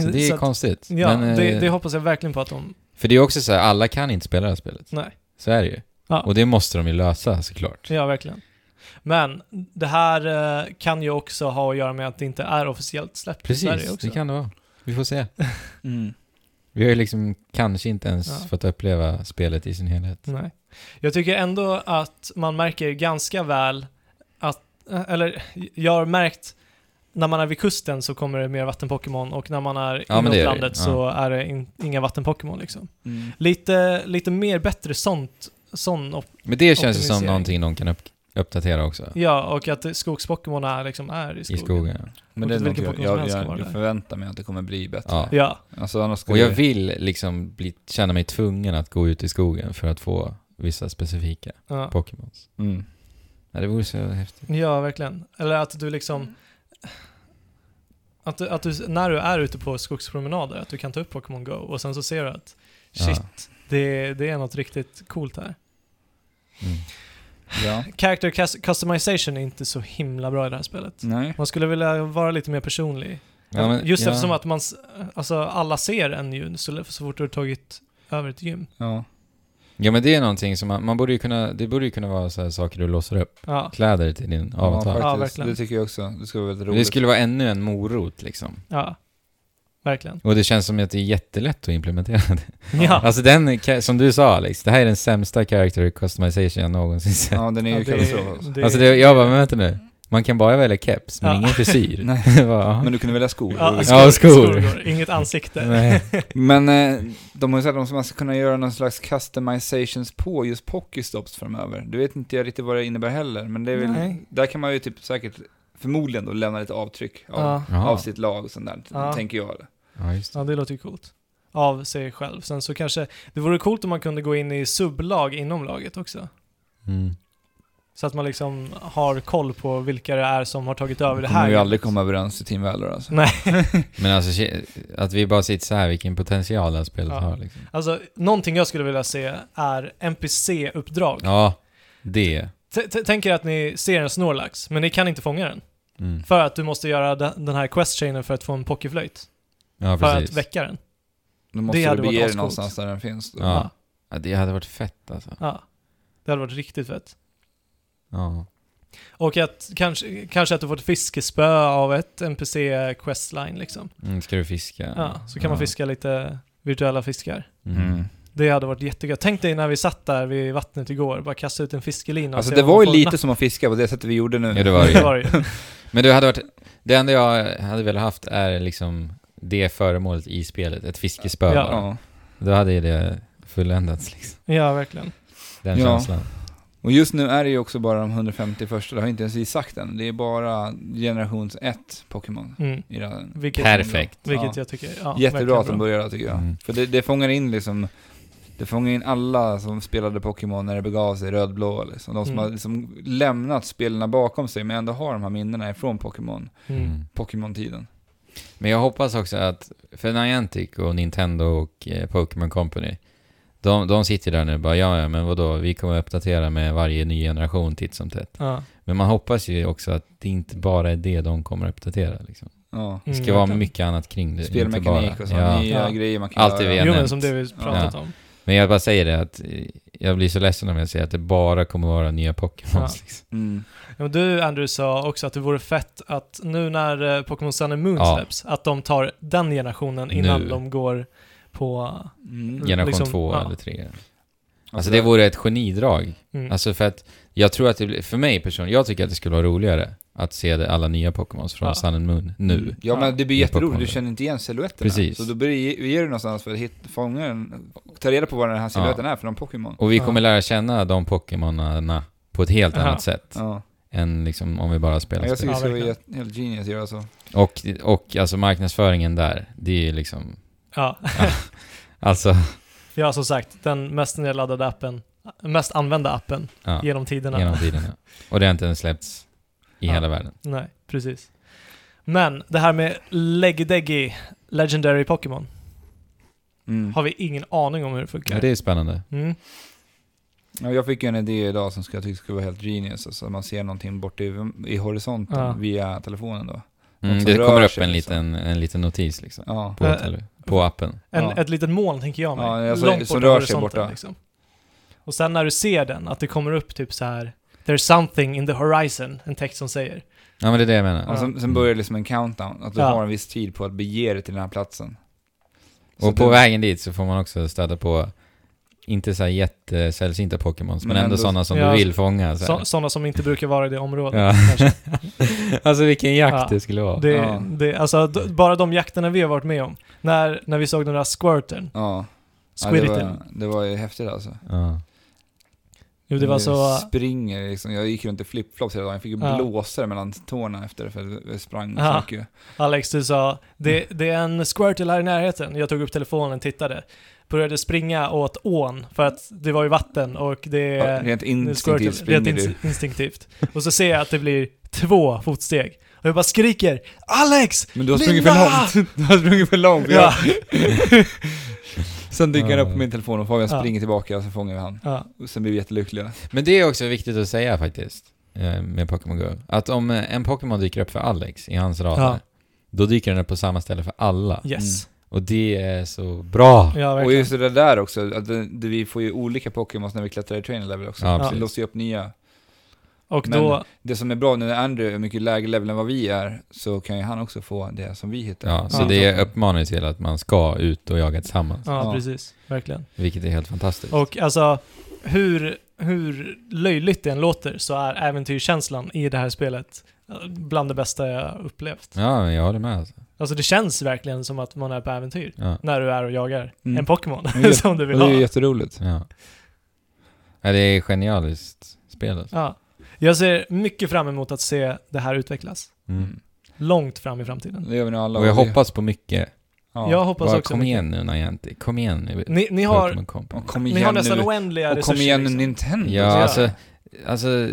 [SPEAKER 3] Så det är
[SPEAKER 2] Så
[SPEAKER 3] ju
[SPEAKER 2] att-
[SPEAKER 3] konstigt.
[SPEAKER 2] Ja,
[SPEAKER 3] Men, eh,
[SPEAKER 2] det, det hoppas jag verkligen på att de...
[SPEAKER 3] För det är ju också så här, alla kan inte spela det här spelet.
[SPEAKER 2] Nej.
[SPEAKER 3] Så är det ju.
[SPEAKER 2] Ja.
[SPEAKER 3] Och det måste de ju lösa såklart.
[SPEAKER 2] Ja, verkligen. Men det här eh, kan ju också ha att göra med att det inte är officiellt släppt i Sverige
[SPEAKER 3] Precis,
[SPEAKER 2] också.
[SPEAKER 3] det kan det vara. Vi får se.
[SPEAKER 1] Mm.
[SPEAKER 3] Vi har ju liksom kanske inte ens
[SPEAKER 2] Ja.
[SPEAKER 3] fått uppleva spelet i sin helhet.
[SPEAKER 2] Nej. Jag tycker ändå att man märker ganska väl att, eh, eller jag har märkt när man är vid kusten så kommer det mer vattenpokémon och när man är
[SPEAKER 3] Ja,
[SPEAKER 2] inåt
[SPEAKER 3] men det är det.
[SPEAKER 2] landet
[SPEAKER 3] Ja.
[SPEAKER 2] så är det in, inga vattenpokémon liksom.
[SPEAKER 1] Mm.
[SPEAKER 2] Lite, lite mer bättre sånt, sån, op-
[SPEAKER 3] Men det känns ju som
[SPEAKER 2] Optimisering.
[SPEAKER 3] någonting de kan upp, uppdatera också.
[SPEAKER 2] ja, och att skogspokémon är liksom är i
[SPEAKER 3] I
[SPEAKER 2] skogen.
[SPEAKER 3] skogen. ja.
[SPEAKER 1] Men
[SPEAKER 2] Och
[SPEAKER 1] det är
[SPEAKER 2] vilken
[SPEAKER 1] något jag, jag,
[SPEAKER 2] Pokémon som helst kan vara
[SPEAKER 1] jag,
[SPEAKER 2] där.
[SPEAKER 1] förväntar mig att det kommer bli bättre.
[SPEAKER 3] Ja.
[SPEAKER 2] Ja,
[SPEAKER 1] Alltså annars skulle
[SPEAKER 3] Och jag
[SPEAKER 1] det-
[SPEAKER 3] vill liksom bli, känna mig tvungen att gå ut i skogen för att få vissa specifika
[SPEAKER 2] ja.
[SPEAKER 3] Pokémons.
[SPEAKER 1] Mm.
[SPEAKER 3] Ja, det vore så häftigt.
[SPEAKER 2] ja, verkligen. Eller att du liksom att du, att du, när du är ute på skogspromenader, att du kan ta upp Pokémon Go och sen så ser du att
[SPEAKER 3] Ja.
[SPEAKER 2] shit, det, det är något riktigt coolt här.
[SPEAKER 3] Mm.
[SPEAKER 1] Ja.
[SPEAKER 2] Character cus- customization är inte så himla bra i det här spelet.
[SPEAKER 1] Nej.
[SPEAKER 2] Man skulle vilja vara lite mer personlig.
[SPEAKER 3] Ja, men-
[SPEAKER 2] Just
[SPEAKER 3] ja.
[SPEAKER 2] eftersom att man, s- alltså alla ser en ju så, så fort du har tagit över ett gym.
[SPEAKER 1] Ja.
[SPEAKER 3] Ja men det är någonting som man, man borde ju kunna, det borde ju kunna vara så här saker du låser upp.
[SPEAKER 2] Ja,
[SPEAKER 3] Kläder till din avatar.
[SPEAKER 1] Ja,
[SPEAKER 2] Ja,
[SPEAKER 1] faktiskt.
[SPEAKER 2] verkligen.
[SPEAKER 1] det tycker jag också. Det skulle vara väldigt
[SPEAKER 3] Men det
[SPEAKER 1] roligt.
[SPEAKER 3] skulle vara ännu en morot liksom.
[SPEAKER 2] ja. Verkligen.
[SPEAKER 3] Och det känns som att det är jättelätt att implementera det.
[SPEAKER 2] Ja,
[SPEAKER 3] Alltså den, ka- som du sa Alex, det här är den sämsta character customization jag någonsin sett.
[SPEAKER 1] Ja, den är ju
[SPEAKER 2] Ja, det-
[SPEAKER 1] katastrof alltså.
[SPEAKER 2] det-
[SPEAKER 3] alltså det, jag bara, men vänta nu. Man kan bara välja keps, men
[SPEAKER 2] Ja.
[SPEAKER 3] ingen frisyr.
[SPEAKER 1] Nej.
[SPEAKER 3] Det var, ja.
[SPEAKER 1] Men du kunde välja skor.
[SPEAKER 2] ja, skor,
[SPEAKER 3] Ja, skor.
[SPEAKER 2] går. Inget ansikte.
[SPEAKER 3] Nej.
[SPEAKER 1] Men eh, de har ju sagt att man ska kunna göra någon slags customizations på just Pokéstops framöver. Du vet inte jag riktigt vad det innebär heller, men det är väl,
[SPEAKER 2] Nej.
[SPEAKER 1] där kan man ju typ säkert förmodligen då lämna lite avtryck av,
[SPEAKER 2] Ja.
[SPEAKER 1] av
[SPEAKER 3] Jaha.
[SPEAKER 1] sitt lag och sånt där,
[SPEAKER 2] Ja.
[SPEAKER 1] tänker jag.
[SPEAKER 3] Ja, just det.
[SPEAKER 2] ja, det låter ju coolt. Av sig själv. Sen så kanske, det vore coolt om man kunde gå in i sublag inom laget också.
[SPEAKER 3] Mm.
[SPEAKER 2] Så att man liksom har koll på vilka det är som har tagit över
[SPEAKER 1] Vi
[SPEAKER 2] det här.
[SPEAKER 1] kommer ju
[SPEAKER 2] gymmet.
[SPEAKER 1] aldrig komma överens i Team Valor alltså.
[SPEAKER 3] Men alltså, shit, att vi bara sitter så här, vilken potential det här spelet
[SPEAKER 2] Ja.
[SPEAKER 3] har liksom.
[SPEAKER 2] Alltså, någonting jag skulle vilja se är NPC-uppdrag.
[SPEAKER 3] Ja, det.
[SPEAKER 2] T- t- Tänk er att ni ser en Snorlax, men ni kan inte fånga den.
[SPEAKER 3] Mm.
[SPEAKER 2] För att du måste göra de- den här quest-chainen för att få en pokéflöjt.
[SPEAKER 3] Ja,
[SPEAKER 2] För
[SPEAKER 3] precis.
[SPEAKER 2] att väcka den.
[SPEAKER 1] Då måste du
[SPEAKER 2] hade varit
[SPEAKER 1] bege dig
[SPEAKER 2] ascoolt.
[SPEAKER 1] någonstans där den finns. Då.
[SPEAKER 3] Ja. Ja, det hade varit fett alltså.
[SPEAKER 2] ja. Det hade varit riktigt fett.
[SPEAKER 3] Ja.
[SPEAKER 2] Och att, kanske, kanske att du får ett fiskespö av ett NPC-questline liksom.
[SPEAKER 3] Mm, ska du fiska?
[SPEAKER 2] Ja, så kan man
[SPEAKER 3] Ja.
[SPEAKER 2] fiska lite virtuella fiskar.
[SPEAKER 3] Mm.
[SPEAKER 2] Det hade varit jättegött. Tänk dig när vi satt där vid vattnet igår, bara kasta ut en fiskelina. och
[SPEAKER 1] Alltså
[SPEAKER 2] se
[SPEAKER 1] det
[SPEAKER 2] vad man
[SPEAKER 1] var ju
[SPEAKER 2] får
[SPEAKER 1] lite som att fiska på det sättet vi gjorde nu.
[SPEAKER 3] Ja, det var det
[SPEAKER 2] Det
[SPEAKER 3] ju.
[SPEAKER 2] var det ju.
[SPEAKER 3] Men det hade varit... Det enda jag hade velat haft är liksom det föremålet i spelet, ett fiskespö
[SPEAKER 2] Ja.
[SPEAKER 3] bara. Då hade ju det fulländats liksom.
[SPEAKER 2] Ja, verkligen.
[SPEAKER 3] Den
[SPEAKER 1] Ja.
[SPEAKER 3] känslan.
[SPEAKER 1] Och just nu är det ju också bara de 150 första, det har inte ens vi sagt än. Det är bara generations 1 Pokémon
[SPEAKER 2] Mm.
[SPEAKER 1] i raden.
[SPEAKER 2] Vilket,
[SPEAKER 3] Perfekt.
[SPEAKER 2] Vilket
[SPEAKER 1] Ja.
[SPEAKER 2] jag tycker ja,
[SPEAKER 1] Jättebra att de
[SPEAKER 2] verkligen bra.
[SPEAKER 1] börjar där tycker jag.
[SPEAKER 3] Mm.
[SPEAKER 1] För det, det fångar in liksom, det fångar in alla som spelade Pokémon när det begav sig, rödblå liksom. De som
[SPEAKER 2] Mm.
[SPEAKER 1] har liksom lämnat spelen bakom sig men ändå har de här minnena ifrån Pokémon,
[SPEAKER 2] Mm.
[SPEAKER 3] Mm.
[SPEAKER 1] Pokémon-tiden.
[SPEAKER 3] Men jag hoppas också att, för Niantic och Nintendo och eh, Pokémon Company, de, de sitter där nu och bara ja, ja, men vadå, vi kommer att uppdatera med varje ny generation titt som tätt.
[SPEAKER 2] Ja.
[SPEAKER 3] Men man hoppas ju också att det inte bara är det de kommer att uppdatera liksom.
[SPEAKER 1] Ja.
[SPEAKER 3] Det
[SPEAKER 2] Mm,
[SPEAKER 3] ska vara
[SPEAKER 2] verkligen.
[SPEAKER 3] mycket annat kring det. inte
[SPEAKER 1] Spelmekanik
[SPEAKER 3] bara-
[SPEAKER 1] och sådana
[SPEAKER 3] Ja.
[SPEAKER 1] nya
[SPEAKER 2] Ja.
[SPEAKER 1] grejer man kan
[SPEAKER 3] Allt det vi
[SPEAKER 1] göra.
[SPEAKER 3] har
[SPEAKER 2] Jo, men
[SPEAKER 3] nämnt.
[SPEAKER 2] som det vi pratat om.
[SPEAKER 3] Men jag bara säger det att eh, jag blir så ledsen om jag säger att det bara kommer vara nya Pokémons.
[SPEAKER 2] Ja.
[SPEAKER 3] Liksom.
[SPEAKER 1] Mm.
[SPEAKER 2] Ja, men du Andrew sa också att det vore fett att nu när eh, Pokémon Sun and Moon
[SPEAKER 3] Ja.
[SPEAKER 2] släpps, att de tar den generationen innan
[SPEAKER 3] Nu.
[SPEAKER 2] de går på...
[SPEAKER 1] Mm.
[SPEAKER 2] Ja.
[SPEAKER 3] Generation
[SPEAKER 2] Liksom,
[SPEAKER 3] två
[SPEAKER 2] ja.
[SPEAKER 3] eller tre. Alltså det vore ett genidrag.
[SPEAKER 2] Mm.
[SPEAKER 3] Alltså för att jag tror att det blir, för mig personligen, jag tycker att det skulle vara roligare att se det, alla nya Pokémons från
[SPEAKER 2] Ja. Mm.
[SPEAKER 3] Sun and Moon nu.
[SPEAKER 1] Ja men det blir
[SPEAKER 3] I
[SPEAKER 1] jätteroligt,
[SPEAKER 3] Pokémon.
[SPEAKER 1] du känner inte igen siluetterna.
[SPEAKER 3] Precis.
[SPEAKER 1] Så då blir det ju någonstans för att hitta, fånga den, ta reda på vad den här siluetten är för någon Pokémon.
[SPEAKER 3] Och vi
[SPEAKER 2] Ja.
[SPEAKER 3] kommer lära känna de Pokémonerna på ett helt
[SPEAKER 2] Aha.
[SPEAKER 3] annat sätt
[SPEAKER 1] Ja.
[SPEAKER 3] än liksom om vi bara spelar
[SPEAKER 1] Jag tycker
[SPEAKER 3] spel.
[SPEAKER 1] det
[SPEAKER 2] Ja,
[SPEAKER 1] skulle vara
[SPEAKER 2] verkligen.
[SPEAKER 1] jät- helt genius att göra så.
[SPEAKER 3] Och, och alltså marknadsföringen där, det är ju liksom,
[SPEAKER 2] Ja.
[SPEAKER 3] alltså,
[SPEAKER 2] Vi har som sagt den mest nedladdade appen, mest använda appen
[SPEAKER 3] ja,
[SPEAKER 2] genom tiderna.
[SPEAKER 3] genom tiderna. Och det har inte ens släppts i
[SPEAKER 2] Ja.
[SPEAKER 3] hela världen.
[SPEAKER 2] Nej, precis. Men det här med Legdeggy Legendary Pokémon
[SPEAKER 1] Mm.
[SPEAKER 2] har vi ingen aning om hur det
[SPEAKER 3] Ja,
[SPEAKER 2] funkar.
[SPEAKER 3] det är spännande.
[SPEAKER 2] Mm.
[SPEAKER 1] Ja, jag fick ju en idé idag som ska- jag tyckte skulle vara helt genius. Alltså man ser någonting bort i, i horisonten
[SPEAKER 2] Ja.
[SPEAKER 1] via telefonen då.
[SPEAKER 3] Mm,
[SPEAKER 1] som
[SPEAKER 3] det
[SPEAKER 1] rör
[SPEAKER 3] kommer upp
[SPEAKER 1] sig
[SPEAKER 3] en
[SPEAKER 1] liksom.
[SPEAKER 3] liten, en liten notis liksom,
[SPEAKER 1] Ja.
[SPEAKER 3] på,
[SPEAKER 2] Eh,
[SPEAKER 3] tele- på appen.
[SPEAKER 2] En,
[SPEAKER 1] Ja.
[SPEAKER 2] Ett litet moln tänker jag mig.
[SPEAKER 1] Ja, alltså,
[SPEAKER 2] långt
[SPEAKER 1] som
[SPEAKER 2] borta
[SPEAKER 1] rör sig
[SPEAKER 2] horisonten,
[SPEAKER 1] borta.
[SPEAKER 2] Liksom. Och sen när du ser den, att det kommer upp typ så här There's something in the horizon, en text som säger.
[SPEAKER 3] Ja men det är det jag menar.
[SPEAKER 1] Och sen, sen börjar det liksom en countdown, att du
[SPEAKER 2] Ja.
[SPEAKER 1] har en viss tid på att bege dig till den här platsen. Så
[SPEAKER 3] Och på
[SPEAKER 1] du-
[SPEAKER 3] vägen dit så får man också stöta på, inte så här jättesällsynta Pokémons, men,
[SPEAKER 1] Men
[SPEAKER 3] ändå,
[SPEAKER 1] ändå-
[SPEAKER 3] sådana som
[SPEAKER 2] Ja,
[SPEAKER 3] du vill fånga. Så här.
[SPEAKER 2] Så, sådana som inte brukar vara i det området.
[SPEAKER 3] Ja.
[SPEAKER 2] kanske.
[SPEAKER 3] alltså vilken jakt
[SPEAKER 2] Ja.
[SPEAKER 3] det skulle vara.
[SPEAKER 2] Det,
[SPEAKER 1] Ja.
[SPEAKER 2] det, alltså, d- bara de jakterna vi har varit med om. När, när vi såg den där squirten,
[SPEAKER 1] Ja. ja det,
[SPEAKER 2] squirten.
[SPEAKER 1] var, det var ju häftigt alltså.
[SPEAKER 3] Ja.
[SPEAKER 2] jo, det var
[SPEAKER 1] Jag
[SPEAKER 2] så...
[SPEAKER 1] Springer liksom. Jag gick runt i flipflops hela dagen. Jag fick ju
[SPEAKER 2] Ja.
[SPEAKER 1] blåsor mellan tårna efter det, för jag sprang så
[SPEAKER 2] Ja.
[SPEAKER 1] mycket.
[SPEAKER 2] Alex, du sa det, det är en squirtle här i närheten. Jag tog upp telefonen, tittade. Började springa åt ån, för att det var ju vatten och det
[SPEAKER 1] Ja,
[SPEAKER 2] är
[SPEAKER 1] Rent
[SPEAKER 2] det är
[SPEAKER 1] instinktivt
[SPEAKER 2] squirtle,
[SPEAKER 1] springer
[SPEAKER 2] rent
[SPEAKER 1] du.
[SPEAKER 2] ins- instinktivt. Och så ser jag att det blir två fotsteg. Och jag bara skriker Alex!
[SPEAKER 1] Men du har
[SPEAKER 2] Linda!
[SPEAKER 1] sprungit för långt. Du har sprungit för långt.
[SPEAKER 2] Ja.
[SPEAKER 1] Sen dyker han upp på
[SPEAKER 3] Ja.
[SPEAKER 1] min telefon och Fabian
[SPEAKER 2] Ja.
[SPEAKER 1] springer tillbaka och så fångar vi han.
[SPEAKER 2] Ja,
[SPEAKER 1] Och sen blir vi jättelyckliga.
[SPEAKER 3] Men det är också viktigt att säga faktiskt, eh, med Pokémon Go. Att om eh, en Pokémon dyker upp för Alex i hans radar,
[SPEAKER 2] Ja.
[SPEAKER 3] då dyker den upp på samma ställe för alla.
[SPEAKER 2] yes.
[SPEAKER 3] Och det är så bra!
[SPEAKER 2] Ja,
[SPEAKER 1] Mm. Och
[SPEAKER 2] verkligen.
[SPEAKER 1] just det där också, att det, det, vi får ju olika Pokémons när vi klättrar i trainer level också.
[SPEAKER 3] Ja,
[SPEAKER 1] så det
[SPEAKER 3] precis.
[SPEAKER 1] låser ju upp nya.
[SPEAKER 2] Och
[SPEAKER 1] Men-
[SPEAKER 2] då,
[SPEAKER 1] Det som är bra nu när Andrew är mycket lägre level än vad vi är, så kan ju han också få det som vi hittar.
[SPEAKER 3] Ja, så
[SPEAKER 2] Ja.
[SPEAKER 3] det uppmanar ju till att man ska ut och jaga tillsammans,
[SPEAKER 2] ja
[SPEAKER 1] Ja.
[SPEAKER 2] precis, verkligen.
[SPEAKER 3] vilket är helt fantastiskt.
[SPEAKER 2] Och alltså, hur, hur löjligt det än låter så är äventyrskänslan i det här spelet eh, bland det bästa jag upplevt.
[SPEAKER 3] Ja, men jag håller med. Alltså.
[SPEAKER 2] Alltså det känns verkligen som att man är på äventyr.
[SPEAKER 3] Ja.
[SPEAKER 2] när du är och jagar
[SPEAKER 1] Mm.
[SPEAKER 2] en Pokémon
[SPEAKER 1] Ja,
[SPEAKER 2] som du
[SPEAKER 1] Och
[SPEAKER 2] vill
[SPEAKER 1] det är ju
[SPEAKER 2] ha.
[SPEAKER 1] jätteroligt.
[SPEAKER 3] Ja. ja, det är genialiskt spel alltså.
[SPEAKER 2] Ja. Jag ser mycket fram emot att se det här utvecklas.
[SPEAKER 3] mm.
[SPEAKER 2] Långt fram i framtiden.
[SPEAKER 1] Det gör vi nu alla.
[SPEAKER 3] Och jag
[SPEAKER 1] vi-
[SPEAKER 3] hoppas på mycket.
[SPEAKER 1] Ja.
[SPEAKER 2] Jag hoppas
[SPEAKER 3] Bara,
[SPEAKER 2] också
[SPEAKER 3] kom
[SPEAKER 2] mycket.
[SPEAKER 3] igen nu Niantic, kom igen nu.
[SPEAKER 2] Ni, ni, har,
[SPEAKER 3] Pokémon Company.
[SPEAKER 1] Och kom igen
[SPEAKER 2] ni har nästan
[SPEAKER 1] nu.
[SPEAKER 2] oändliga
[SPEAKER 1] Och
[SPEAKER 2] resurser.
[SPEAKER 1] kom igen nu
[SPEAKER 2] liksom.
[SPEAKER 1] Nintendo.
[SPEAKER 3] Ja,
[SPEAKER 2] Ja.
[SPEAKER 3] alltså, alltså,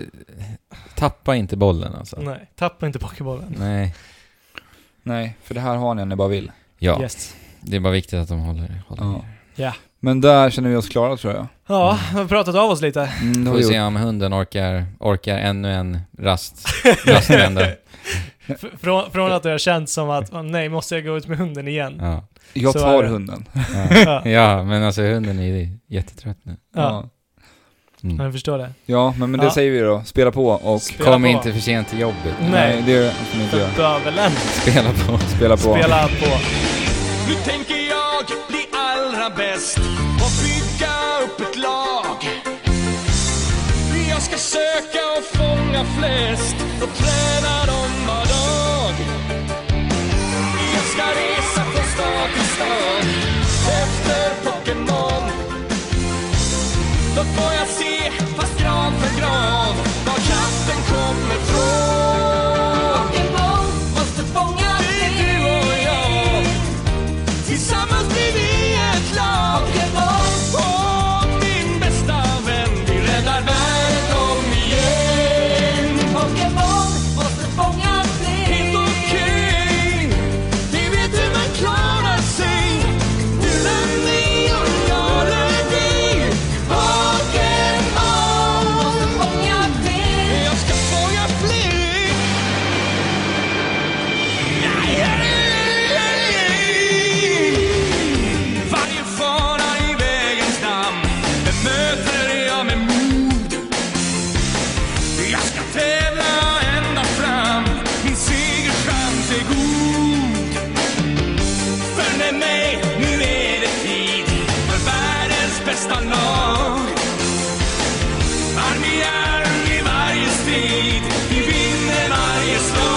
[SPEAKER 3] tappa inte bollen alltså.
[SPEAKER 2] Nej, tappa inte Pokébollen.
[SPEAKER 3] Nej.
[SPEAKER 1] Nej, för det här har ni om ni bara vill.
[SPEAKER 3] Ja,
[SPEAKER 2] Yes.
[SPEAKER 3] det är bara viktigt att de håller, håller.
[SPEAKER 1] Ja.
[SPEAKER 2] Ja.
[SPEAKER 1] Men där känner vi oss klara tror jag.
[SPEAKER 2] Ja, vi har pratat av oss lite.
[SPEAKER 1] Mm, det har
[SPEAKER 3] Får
[SPEAKER 1] vi
[SPEAKER 3] se
[SPEAKER 1] gjort.
[SPEAKER 3] om hunden orkar, orkar ännu en rast, rastrända.
[SPEAKER 2] Fr- Från, från att det har känts som att, "Åh, nej, måste jag gå ut med hunden igen?
[SPEAKER 3] Ja.
[SPEAKER 1] Jag
[SPEAKER 2] Så
[SPEAKER 1] tar
[SPEAKER 2] är det.
[SPEAKER 1] hunden.
[SPEAKER 3] Ja.
[SPEAKER 2] Ja,
[SPEAKER 3] ja, men alltså hunden är ju jättetrött nu.
[SPEAKER 2] ja.
[SPEAKER 3] Mm.
[SPEAKER 2] ja jag förstår det.
[SPEAKER 1] Ja, men, men det
[SPEAKER 2] Ja.
[SPEAKER 1] säger vi då. Spela på och...
[SPEAKER 2] Spela
[SPEAKER 3] Kom
[SPEAKER 2] på.
[SPEAKER 3] inte för sent till jobbet.
[SPEAKER 2] Nej.
[SPEAKER 1] det får ni inte göra.
[SPEAKER 2] Bövelen.
[SPEAKER 3] Spela på.
[SPEAKER 1] Spela på.
[SPEAKER 2] Spela på.
[SPEAKER 4] Nu tänker jag bli allra bäst och bygga upp ett lag. Jag ska söka och fånga flest och träna dem var dag. Jag ska resa på jag till stan efter Pokémon. Då får jag se, fast gran för gran, var katten kommer från.
[SPEAKER 5] Måste fånga
[SPEAKER 4] Det är du och jag, tillsammans blir vi ett lag. Och din bästa vän, vi räddar världen om igen.
[SPEAKER 5] Pokémon, måste fånga
[SPEAKER 4] Helt
[SPEAKER 5] fler.
[SPEAKER 4] okej, vi vet hur man klarar sig. Du lär mig och jag lär dig. Pokémon,
[SPEAKER 5] Måste fånga fler.
[SPEAKER 4] jag ska fånga fler. Varje fara i vägens namn bemöter jag med mod. Jag ska tävla ända fram, min segerchans är god. Följ med mig, nu är det tid för världens bästa lag. Armiar i varje strid, vi vinner varje slag.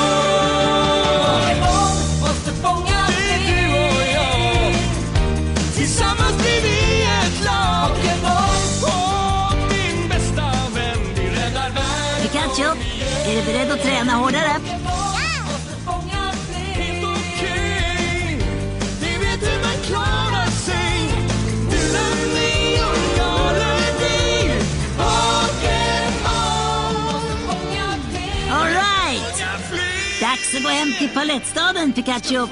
[SPEAKER 5] Pokémon, måste fånga
[SPEAKER 4] Det är
[SPEAKER 5] fler.
[SPEAKER 4] du och jag, tillsammans blir vi ett lag.
[SPEAKER 5] Pokémon,
[SPEAKER 4] Och min bästa vän, vi räddar världen.
[SPEAKER 6] Pikachu, är du beredd att träna hårdare?
[SPEAKER 5] måste fånga fler.
[SPEAKER 4] Helt okej, vi vet hur man klarar sig. Du lär mig och jag lär dig. Pokémon,
[SPEAKER 5] Fånga fler.
[SPEAKER 6] Alright!
[SPEAKER 4] jag flyr.
[SPEAKER 6] Dags att gå hem till palettstaden, Pikachu.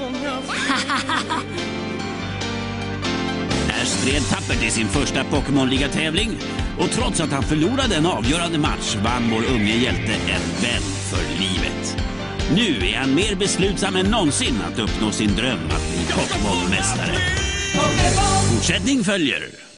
[SPEAKER 7] Ash stred tappert i sin första Pokémon-ligatävling och trots att han förlorade en avgörande match vann vår unge hjälte en vän för livet. Nu är han mer beslutsam än någonsin att uppnå sin dröm att bli Pokémon-mästare. Fortsättning följer.